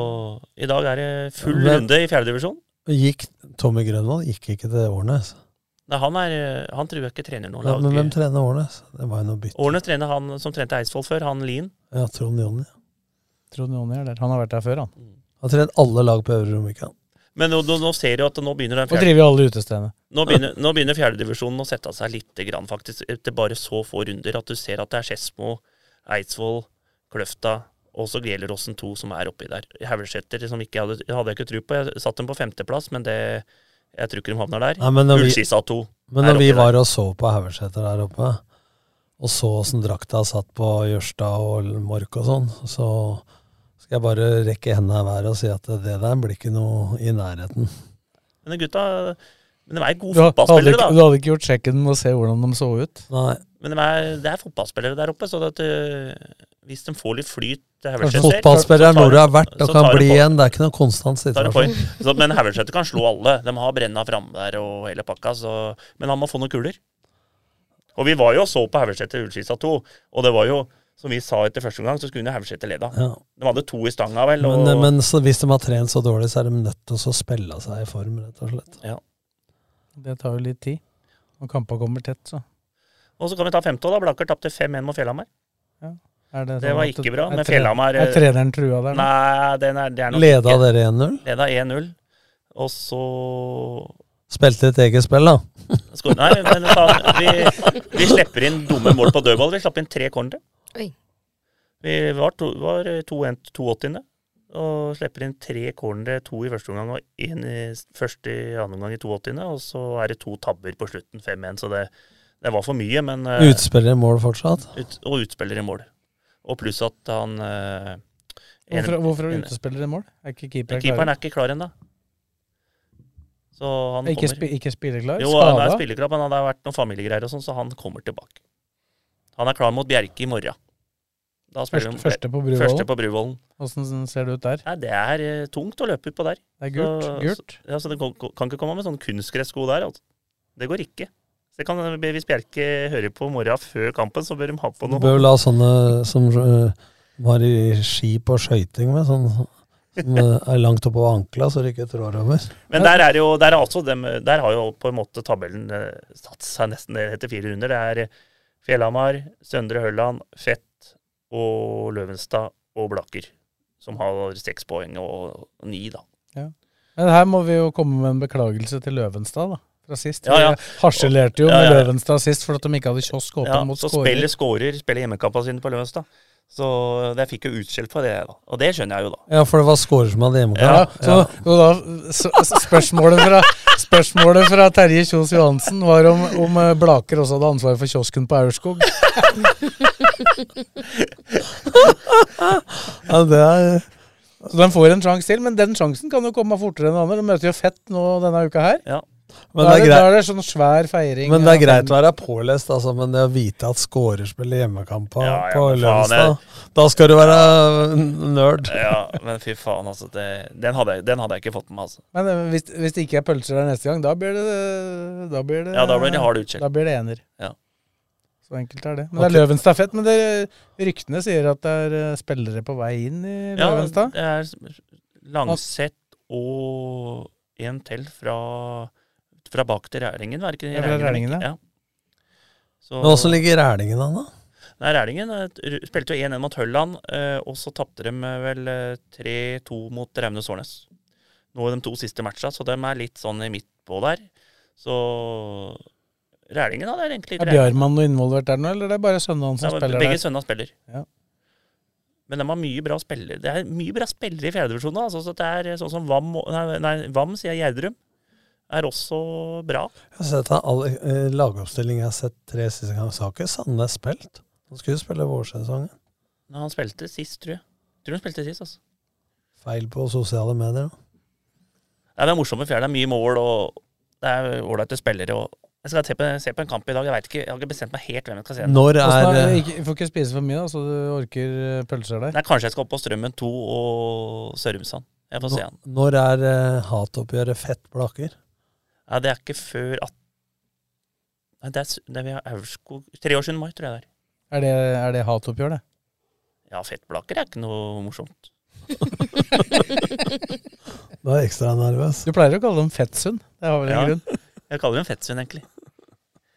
S7: i dag er det full
S6: Men-
S7: runde i fjerdedivisjon.
S6: Gikk Tommy Grønvold gikk ikke til Årnes.
S7: Nei, han, er, eh, han tror jeg ikke trener noe
S6: Ja,
S7: lag.
S6: men hvem trener Årnes? Det var jo noe bytt.
S7: Årene trener han som trente Eidsvoll før, han Lien.
S6: Ja, Trond Jonny.
S4: Trond Jonny er der. Han har vært der før, han.
S6: Han har trent alle lag på Øvre Romerike.
S7: Men nå, nå, nå ser du at nå begynner den
S4: Og driver jo alle utestedene.
S7: Nå begynner, nå begynner fjerdedivisjonen å sette seg litt, grann, faktisk, etter bare så få runder, at du ser at det er Skedsmo, Eidsvoll, Kløfta og så Gjelleråsen 2 som er oppi der. Haugeseter som ikke hadde, hadde jeg ikke tro på. Jeg satte dem på femteplass, men det, jeg tror ikke de havner der.
S6: Nei, men når vi-
S7: Ullskisa 2.
S6: Men
S7: er
S6: når vi
S7: oppi der.
S6: var og så på Haugeseter der oppe, og så åssen drakta satt på Jørstad og Mork og sånn, så skal jeg bare rekke hendene i været og si at det der blir ikke noe i nærheten.
S7: Men de gutta men de er
S4: Du
S7: gode
S4: hadde,
S7: fotballspillere,
S4: ikke,
S7: da.
S4: du hadde ikke gjort sjekken med å se hvordan de så ut?
S6: Nei.
S7: Men de er, det er fotballspillere der oppe, så det at, eh, hvis de får litt flyt til Haugeseter
S6: Altså, Fotballspillere
S7: så
S6: er
S7: tar
S6: noe du
S7: de-
S6: har vært og
S7: så
S6: kan
S7: tar de
S6: bli
S7: på-
S6: igjen. Det er ikke noe konstant
S7: tar
S6: situasjon.
S7: de poeng. Så, men Haugeseter kan slå alle. De har Brenna framme der og hele pakka, så, men han må få noen kuler. Og vi var jo og så på Haugeseter Ullskisa 2, og det var jo som vi sa etter første omgang, så skulle Haugeseter leda.
S6: Ja.
S7: De hadde to i stanga, vel. Og,
S6: Men, men så, hvis de har trent så dårlig, så er de nødt til å spille seg i form, rett og slett.
S7: ja.
S4: Det tar jo litt tid. Når kampa kommer tett, så.
S7: og så kan vi ta femte, da. Blakker tapte 5-1 mot Fjellhamar.
S4: Ja. Er det
S7: Det
S4: sånn
S7: var
S4: at-
S7: ikke bra,
S4: er
S7: men
S4: tre-
S7: Fjellhamar eh,
S4: Er treneren trua der nå?
S7: Nei, den er, det er nok
S6: Leda
S7: ikke-
S6: dere 1-0?
S7: Leda 1-0. Og så
S6: Spilte et eget spill, da.
S7: skår- Nei, men faen, vi, vi slipper inn dumme mål på dødball. Vi slapp inn tre cornere.
S5: Oi.
S7: Vi var, to, var 2-80. Og slipper inn tre cornere, to i første omgang og én i først i andre omgang i 82. Og så er det to tabber på slutten, 5-1. Så det, det var for mye, men eh,
S6: Utspiller i mål fortsatt.
S7: ut, og utspiller i mål. Og pluss at han eh, en-
S4: Hvorfor, hvorfor er
S7: en-
S4: du utespiller i mål? Er ikke keeperen,
S7: Keeperen er ikke klar ennå. Så han
S4: Er ikke
S7: kommer.
S4: spi- ikke spilleklar?
S7: Jo, han er
S4: Skada?
S7: spilleklar, men det har vært noen familiegreier og sånn, så han kommer tilbake. Han er klar mot Bjerke i morgen. Da spiller
S4: Første-
S7: de-
S4: første på Bruvollen?
S7: Første på Bruvollen.
S4: Åssen ser det ut der?
S7: Nei, det er eh, tungt å løpe utpå der.
S4: Det er gult,
S7: Så-
S4: gult.
S7: Så, ja, så det kan, kan ikke komme med sånn kunstgressko der, altså. Det går ikke. Så det kan, hvis Bjerke hører på morgenen før kampen, så bør de ha
S6: Du
S7: på noe.
S6: bør vel ha sånne som øh, var i ski på skøyting med, sånn som øh, er langt oppover ankla, så det ikke trår over.
S7: Men der er jo, der, er altså dem, der har jo på en måte tabellen eh, satt seg nesten ned etter fire runder. Det er eh, Fjellhamar, Søndre Hølland, Fett og Løvenstad og Blaker. Som har seks poeng og ni, da.
S4: Men her må vi jo komme med en beklagelse til Løvenstad, da. Fra sist.
S7: Ja, ja.
S4: Vi harselerte jo
S7: Ja, ja.
S4: med Løvenstad sist for at de ikke hadde kiosk åpen
S7: Ja,
S4: mot
S7: så
S4: skårer.
S7: spiller skårer, spiller hjemmekampene sine på Løvenstad. Så jeg fikk jo utskjell for det, da. Og det skjønner jeg jo, da.
S6: Ja, for det var scorer som hadde
S4: Ja,
S6: hjemmekamp.
S4: så, så da, så, så spørsmålet, fra, spørsmålet fra Terje Kjos Johansen var om, om eh, Blaker også hadde ansvaret for kiosken på Aurskog.
S6: Ja, det er...
S4: Så de får en sjanse til, men den sjansen kan jo komme fortere enn andre. De møter jo Fett nå denne uka her.
S6: Men det
S4: da, er
S6: er
S4: det, da
S6: greit-
S4: er det sånn svær feiring.
S6: Men det er
S4: av
S6: greit å være pålest, altså, men det å vite at scorer spiller hjemmekamp på,
S7: Ja, ja,
S6: på
S7: men faen,
S6: Løvenstad, da skal du være øh, nerd.
S7: Ja, men fy faen, altså. Det, den, hadde, jeg- den hadde jeg ikke fått med meg, altså.
S4: Men eh, hvis, hvis det ikke er pølser der neste gang, da blir det Da blir det,
S7: Ja, da blir det hard utskjell.
S4: Da blir det ener.
S7: Ja.
S4: Så enkelt er det. Men
S7: Ok.
S4: det er Løvenstafett. Men det, ryktene sier at det er eh, spillere på vei inn i
S7: Ja,
S4: Løvenstad.
S7: det er Langseth og en til fra, fra bak til Rælingen, var det ikke?
S4: Ja, fra Rælingen, ja.
S7: ja. Så,
S6: Men åssen ligger Rælingen an, da?
S7: Nei, Rælingen eh, r- spilte jo 1-1 mot Hølland, eh, og så tapte de eh, vel eh, 3-2 mot Raune Sårnes. Nå er de to siste matcha, så de er litt sånn i midt på der. Så Rælingen hadde jeg egentlig
S4: Er Bjarmann noe involvert der nå, eller er det bare sønnen hans
S7: Nei,
S4: som
S7: men
S4: spiller
S7: begge
S4: der?
S7: sønner spiller.
S4: Ja.
S7: Men de har mye bra spillere. Det er mye bra spillere i fjerdedivisjonen. Altså, så det er sånn som Vam, og- nei, nei, Vam sier jeg, Gjerdrum, er også bra.
S6: Jeg har sett at alle eh, lagoppstillinger jeg har sett tre siste ganger, så har ikke Sandnes spilt. Han skulle spille vårsesongen.
S7: Men han spilte sist, tror jeg. Tror han spilte sist, altså.
S6: Feil på sosiale medier. da.
S7: Nei, det er morsomme fjær. Det er mye mål, og det er ålreite spillere. Og jeg skal se på, se på en kamp i dag. Jeg vet ikke, jeg har ikke bestemt meg helt hvem jeg skal se.
S6: Når er- eh,
S4: Åssen er det? Ikke- Får ikke spise for mye, da, så du orker eh, pølser der.
S7: Nei, Kanskje jeg skal opp på Strømmen 2 og Sørumsand. Jeg får se han.
S6: Nå- Når er eh, hatoppgjøret fett blaker?
S7: Nei, det er ikke før at... Nei, det er, s- det er vi har Aurskog Tre år siden mai, tror jeg det er.
S4: Er det, er det hatoppgjør, det?
S7: Ja, fettblaker er ikke noe morsomt.
S6: Da er jeg ekstra nervøs.
S4: Du pleier å kalle dem fettsund. Det har vel en
S7: Ja.
S4: grunn.
S7: Jeg kaller det en fettsvinn, egentlig.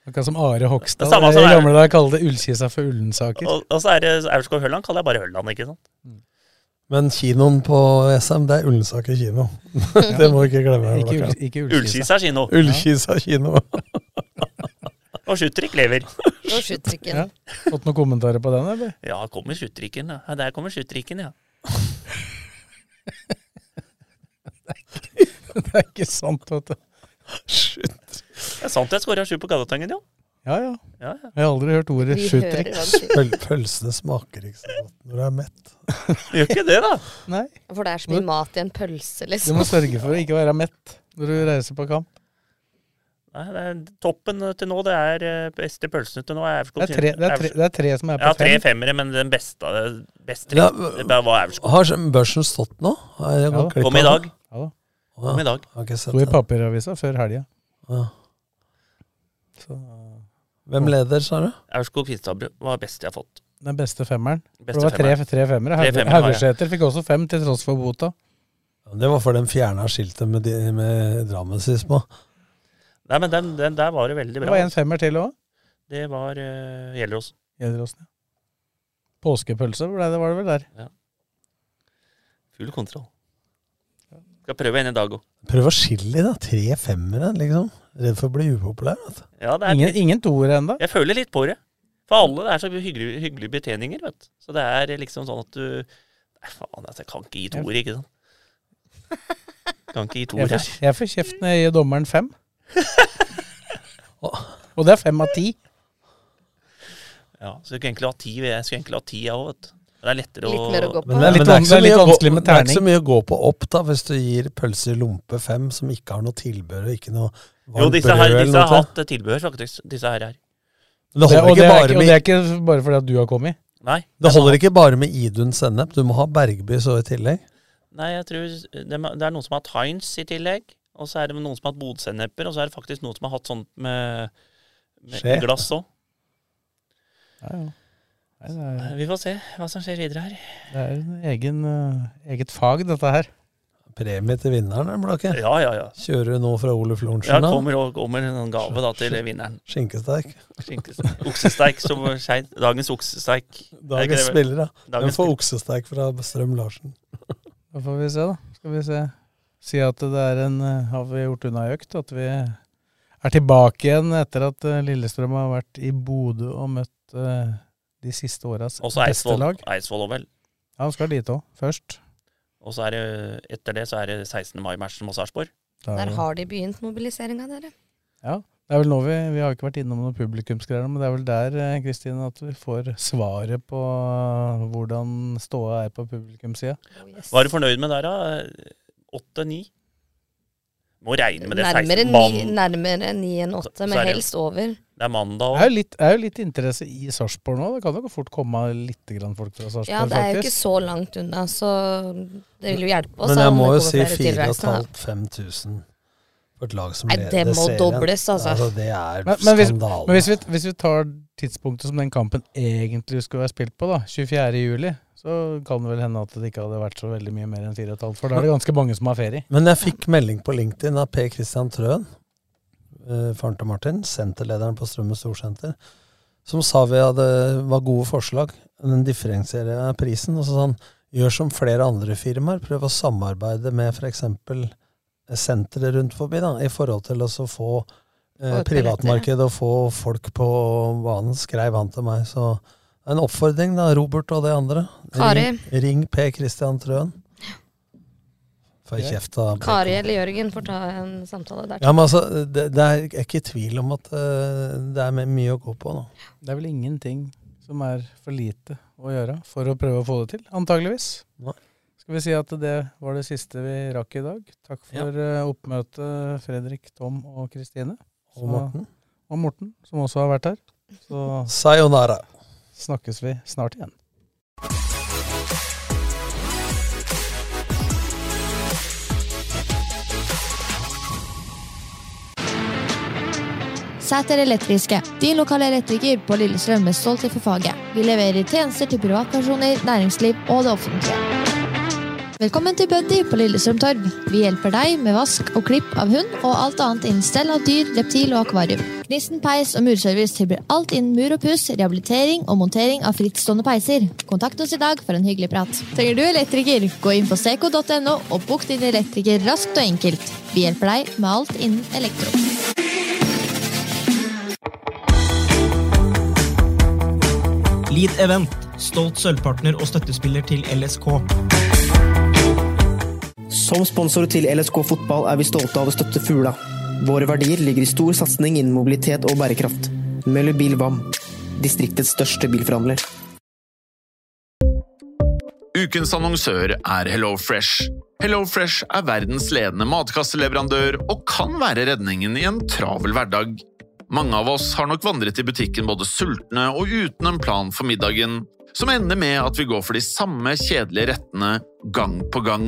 S4: Akkurat som Are
S7: Det
S4: Hogstad. eh,
S7: er samme
S4: I
S7: som er-
S4: gamle dager kalte det Ullkisa for Ullensaker.
S7: Og, og så er det Aurskog Hølland, kaller jeg bare Hølland, ikke sant?
S6: Men kinoen på SM, det er Ullensaker kino. det må vi ikke glemme.
S4: Ikke
S6: Blaker.
S4: Ull- ikke
S7: Ullkisa kino.
S6: Ullkisa kino.
S7: Og Sjutrik lever.
S5: Og skytrikken.
S4: Ja. Fått noen kommentarer på den, eller?
S7: Ja, kommer Sjutrikken, ja. Ja, Der kommer Sjutrikken, ja.
S4: Det er ikke sant, vet du.
S6: Skytt.
S7: Det er sant jeg skåra sju på Gallatangen, jo.
S4: Ja, ja.
S7: Ja, ja.
S4: Jeg har aldri hørt ordet
S5: Vi hører
S4: sjuttrikk.
S5: hva det sier.
S6: Pøl, pølsene smaker ikke så godt når du er mett.
S7: Gjør ikke det, da.
S4: Nei.
S5: For det er så mye mat i en pølse,
S4: Du må
S5: liksom.
S4: sørge for å ikke være mett når du reiser på kamp.
S7: Nei, det er, toppen til nå, det er eh, beste pølsene til nå er Aurskog
S4: Det er tre, det er tre, det er tre som er
S7: Ja,
S4: på
S7: tre
S4: fem.
S7: femmere, men den beste, beste
S6: Ja,
S7: det bare var Aurskog.
S6: Har børsen stått nå? Har jeg gått glipp
S7: Kom i
S6: av
S7: dag.
S6: det?
S4: Ja, da.
S6: Å, ja.
S7: Kom i dag.
S6: Har ikke sett
S4: Sto i
S6: det.
S4: papiravisa før helga.
S6: Ja.
S4: Så
S7: eh,
S6: Hvem leder, sa du?
S7: Aurskog Kvinnstadbru var best jeg har fått.
S4: den beste femmeren. For
S7: Beste
S4: det var tre,
S7: femmeren.
S4: tre femmere.
S7: Tre
S4: Hauge-
S7: femmere var jeg.
S4: Haugesæter fikk også fem, til tross for bota.
S6: Det var for den fjerna skiltet med, de- med Drammen sist på.
S7: Nei, men den, den der var det veldig
S4: Det
S7: bra.
S4: var en
S7: altså.
S4: femmer til òg.
S7: Det var uh, Gjelleråsen.
S4: Påskepølse ble det, var det vel der.
S7: Full kontroll. Skal prøve en i dag òg.
S6: Prøv å skille i da. Tre femmere, liksom. Redd for å bli upopulær. Vet du.
S7: Ja, det er
S4: ingen, ingen toer ennå.
S7: Jeg føler litt på det. For alle det er så hyggelige, hyggelige betjeninger, vet du. Så det er liksom sånn at du Nei, faen, altså, jeg kan ikke gi toer, ikke sant? Kan ikke gi
S4: Jeg,
S7: toer her.
S4: får- jeg får kjeft når jeg gir dommeren fem. Og det er fem av ti.
S7: Ja, så jeg skulle egentlig ha ti, jeg skulle egentlig ha ti, jeg òg, vet du. Men Det er lettere å
S5: Litt mer å gå på.
S6: Men
S4: Det er litt
S6: men ikke så
S4: vanskelig-
S6: mye å gå-
S4: vanskelig med
S6: Det er ikke så
S4: terning.
S6: mye å gå på opp, da, hvis du gir pølse i lompe fem som ikke har noe tilbehør og ikke noe
S7: Jo,
S6: varmt
S7: disse, her,
S6: brød eller
S7: disse
S6: noe
S7: har
S6: til.
S7: hatt tilbehør, faktisk. Disse her. her.
S6: Altså, Det
S4: Det-
S6: holder
S4: og,
S6: ikke
S4: det er
S6: bare
S4: ikke, og
S6: med
S4: det er ikke bare fordi at du har kommet.
S7: Nei.
S6: Det holder ikke bare med Idun sennep, du må ha Bergby så i tillegg.
S7: Nei, jeg tror det, det er noen som har hatt Heinz i tillegg. Og så er det noen som har hatt bodsenneper, og så er det faktisk noen som har hatt sånt med, med
S6: Skje.
S7: glass òg.
S4: Ja, ja. Nei, det er-
S7: Eh, Vi får se hva som skjer videre her.
S4: Det er en egen, eh, eget fag, dette her.
S6: Premie til vinneren, er det Blakke.
S7: Ja, ja, ja.
S6: Kjører du nå fra Oluf
S7: Ja,
S6: Lorentzen,
S7: det
S6: da?
S7: kommer, kommer en sånn gave da til vinneren.
S6: Skinkesteik.
S7: Skinkesteik. Oksesteik, som var skei- dagens oksesteik. Er ikke
S6: Dagens
S7: det vel?
S6: spiller, da.
S7: Dagens
S6: Den får oksesteik fra Strøm Larsen.
S4: Da får vi se, da. Skal vi se. Si at det er en eh, Har vi gjort unna ei økt? At vi er tilbake igjen etter at eh, Lillestrøm har vært i Bodø og møtt eh, de siste åras
S7: Og så
S4: beste
S7: Eidsvoll.
S4: lag.
S7: Eidsvoll og vel.
S4: Ja, han skal dit òg, først.
S7: Og så er det, etter det så er det 16. mai-matchen mot Sarpsborg.
S4: Da er
S5: Der
S4: det-
S5: har de begynt mobiliseringa, dere.
S4: Ja, det er vel nå vi, vi har ikke vært innom noen publikumsgreier, men det er vel der eh, Kristin, at vi får svaret på eh, hvordan ståa er på publikumssida.
S7: Hva er du fornøyd med der, da? Åtte-ni? Må regne med det.
S5: Nærmere
S7: 16.
S5: ni,
S7: mann.
S5: nærmere ni enn åtte,
S7: Så- så
S5: men
S7: er det-
S5: helst over.
S7: Det er mandag
S4: Det
S7: òg.
S4: er jo litt, det er jo litt interesse i Sarpsborg nå. Det kan jo fort komme litt grann folk fra Sarpsborg,
S5: Ja, det er jo ikke
S4: faktisk.
S5: så langt unna, så det vil jo hjelpe oss.
S6: Men
S5: da,
S6: jeg
S5: om
S6: må jo
S5: det kommer
S6: si
S5: flere tilreisende, da.
S6: 4500-5000 for et lag som
S5: Nei, det må
S6: serien.
S5: dobles, altså.
S6: Det er
S4: Men, men, hvis,
S6: skandale.
S4: men hvis, vi, hvis vi tar tidspunktet som den kampen egentlig skulle vært spilt på, da, 24. juli, så kan det vel hende at det ikke hadde vært så veldig mye mer enn 4,5, for da er det ganske mange som har ferie.
S6: Men jeg fikk melding på LinkedIn av Per Christian Trøen, eh, faren til Martin, senterlederen på Strømmen Storsenter, som sa vi hadde, var gode forslag, men differensierer prisen. Og så sa han gjør som flere andre firmaer, prøv å samarbeide med f.eks. senteret rundt forbi, da, i forhold til også å få eh,
S5: Få
S6: privatmarkedet og få folk på banen, skrev han til meg. Så det er en oppfordring, da, Robert og de andre.
S5: Kari.
S6: Ring, ring Per Christian Trøen. Får jeg kjeft av Per
S5: Kari eller Jørgen får ta en samtale der.
S6: ja, men altså, det, det er jeg er ikke i tvil om at eh, det er me- mye å gå på nå.
S4: Det er vel ingenting som er for lite å gjøre for å prøve å få det til, antageligvis.
S6: Nei.
S4: Skal vi si at det var det siste vi rakk i dag. Takk for eh, oppmøtet, Fredrik, Tom og Kristine.
S6: Og
S4: Så-
S6: Morten.
S4: Og Morten, som også har vært her. Så
S6: Sayonara.
S4: snakkes vi snart igjen.
S8: Sæter Elektriske, din lokale elektriker på Lillestrøm med stolthet for faget. Vi leverer tjenester til privatpersoner, næringsliv og det offentlige. Velkommen til Buddy på Lillestrøm Torv. Vi hjelper deg med vask og klipp av hund og alt annet innen stell av dyr, reptil og akvarium. Gnisten peis og murservice tilbyr alt innen mur og puss, rehabilitering og montering av frittstående peiser. Kontakt oss i dag for en hyggelig prat. Trenger du elektriker? Gå inn på seco.no og bok din elektriker raskt og enkelt. Vi hjelper deg med alt innen elektro.
S1: Lead Event, stolt sølvpartner og støttespiller til LSK.
S2: Som sponsor til LSK fotball er vi stolte av å støtte Fula. Våre verdier ligger i stor satsing innen mobilitet og bærekraft. Møller VAM, distriktets største bilforhandler.
S9: Ukens annonsør er HelloFresh. HelloFresh er verdens ledende matkasseleverandør og kan være redningen i en travel hverdag. Mange av oss har nok vandret i butikken både sultne og uten en plan for middagen, som ender med at vi går for de samme kjedelige rettene gang på gang.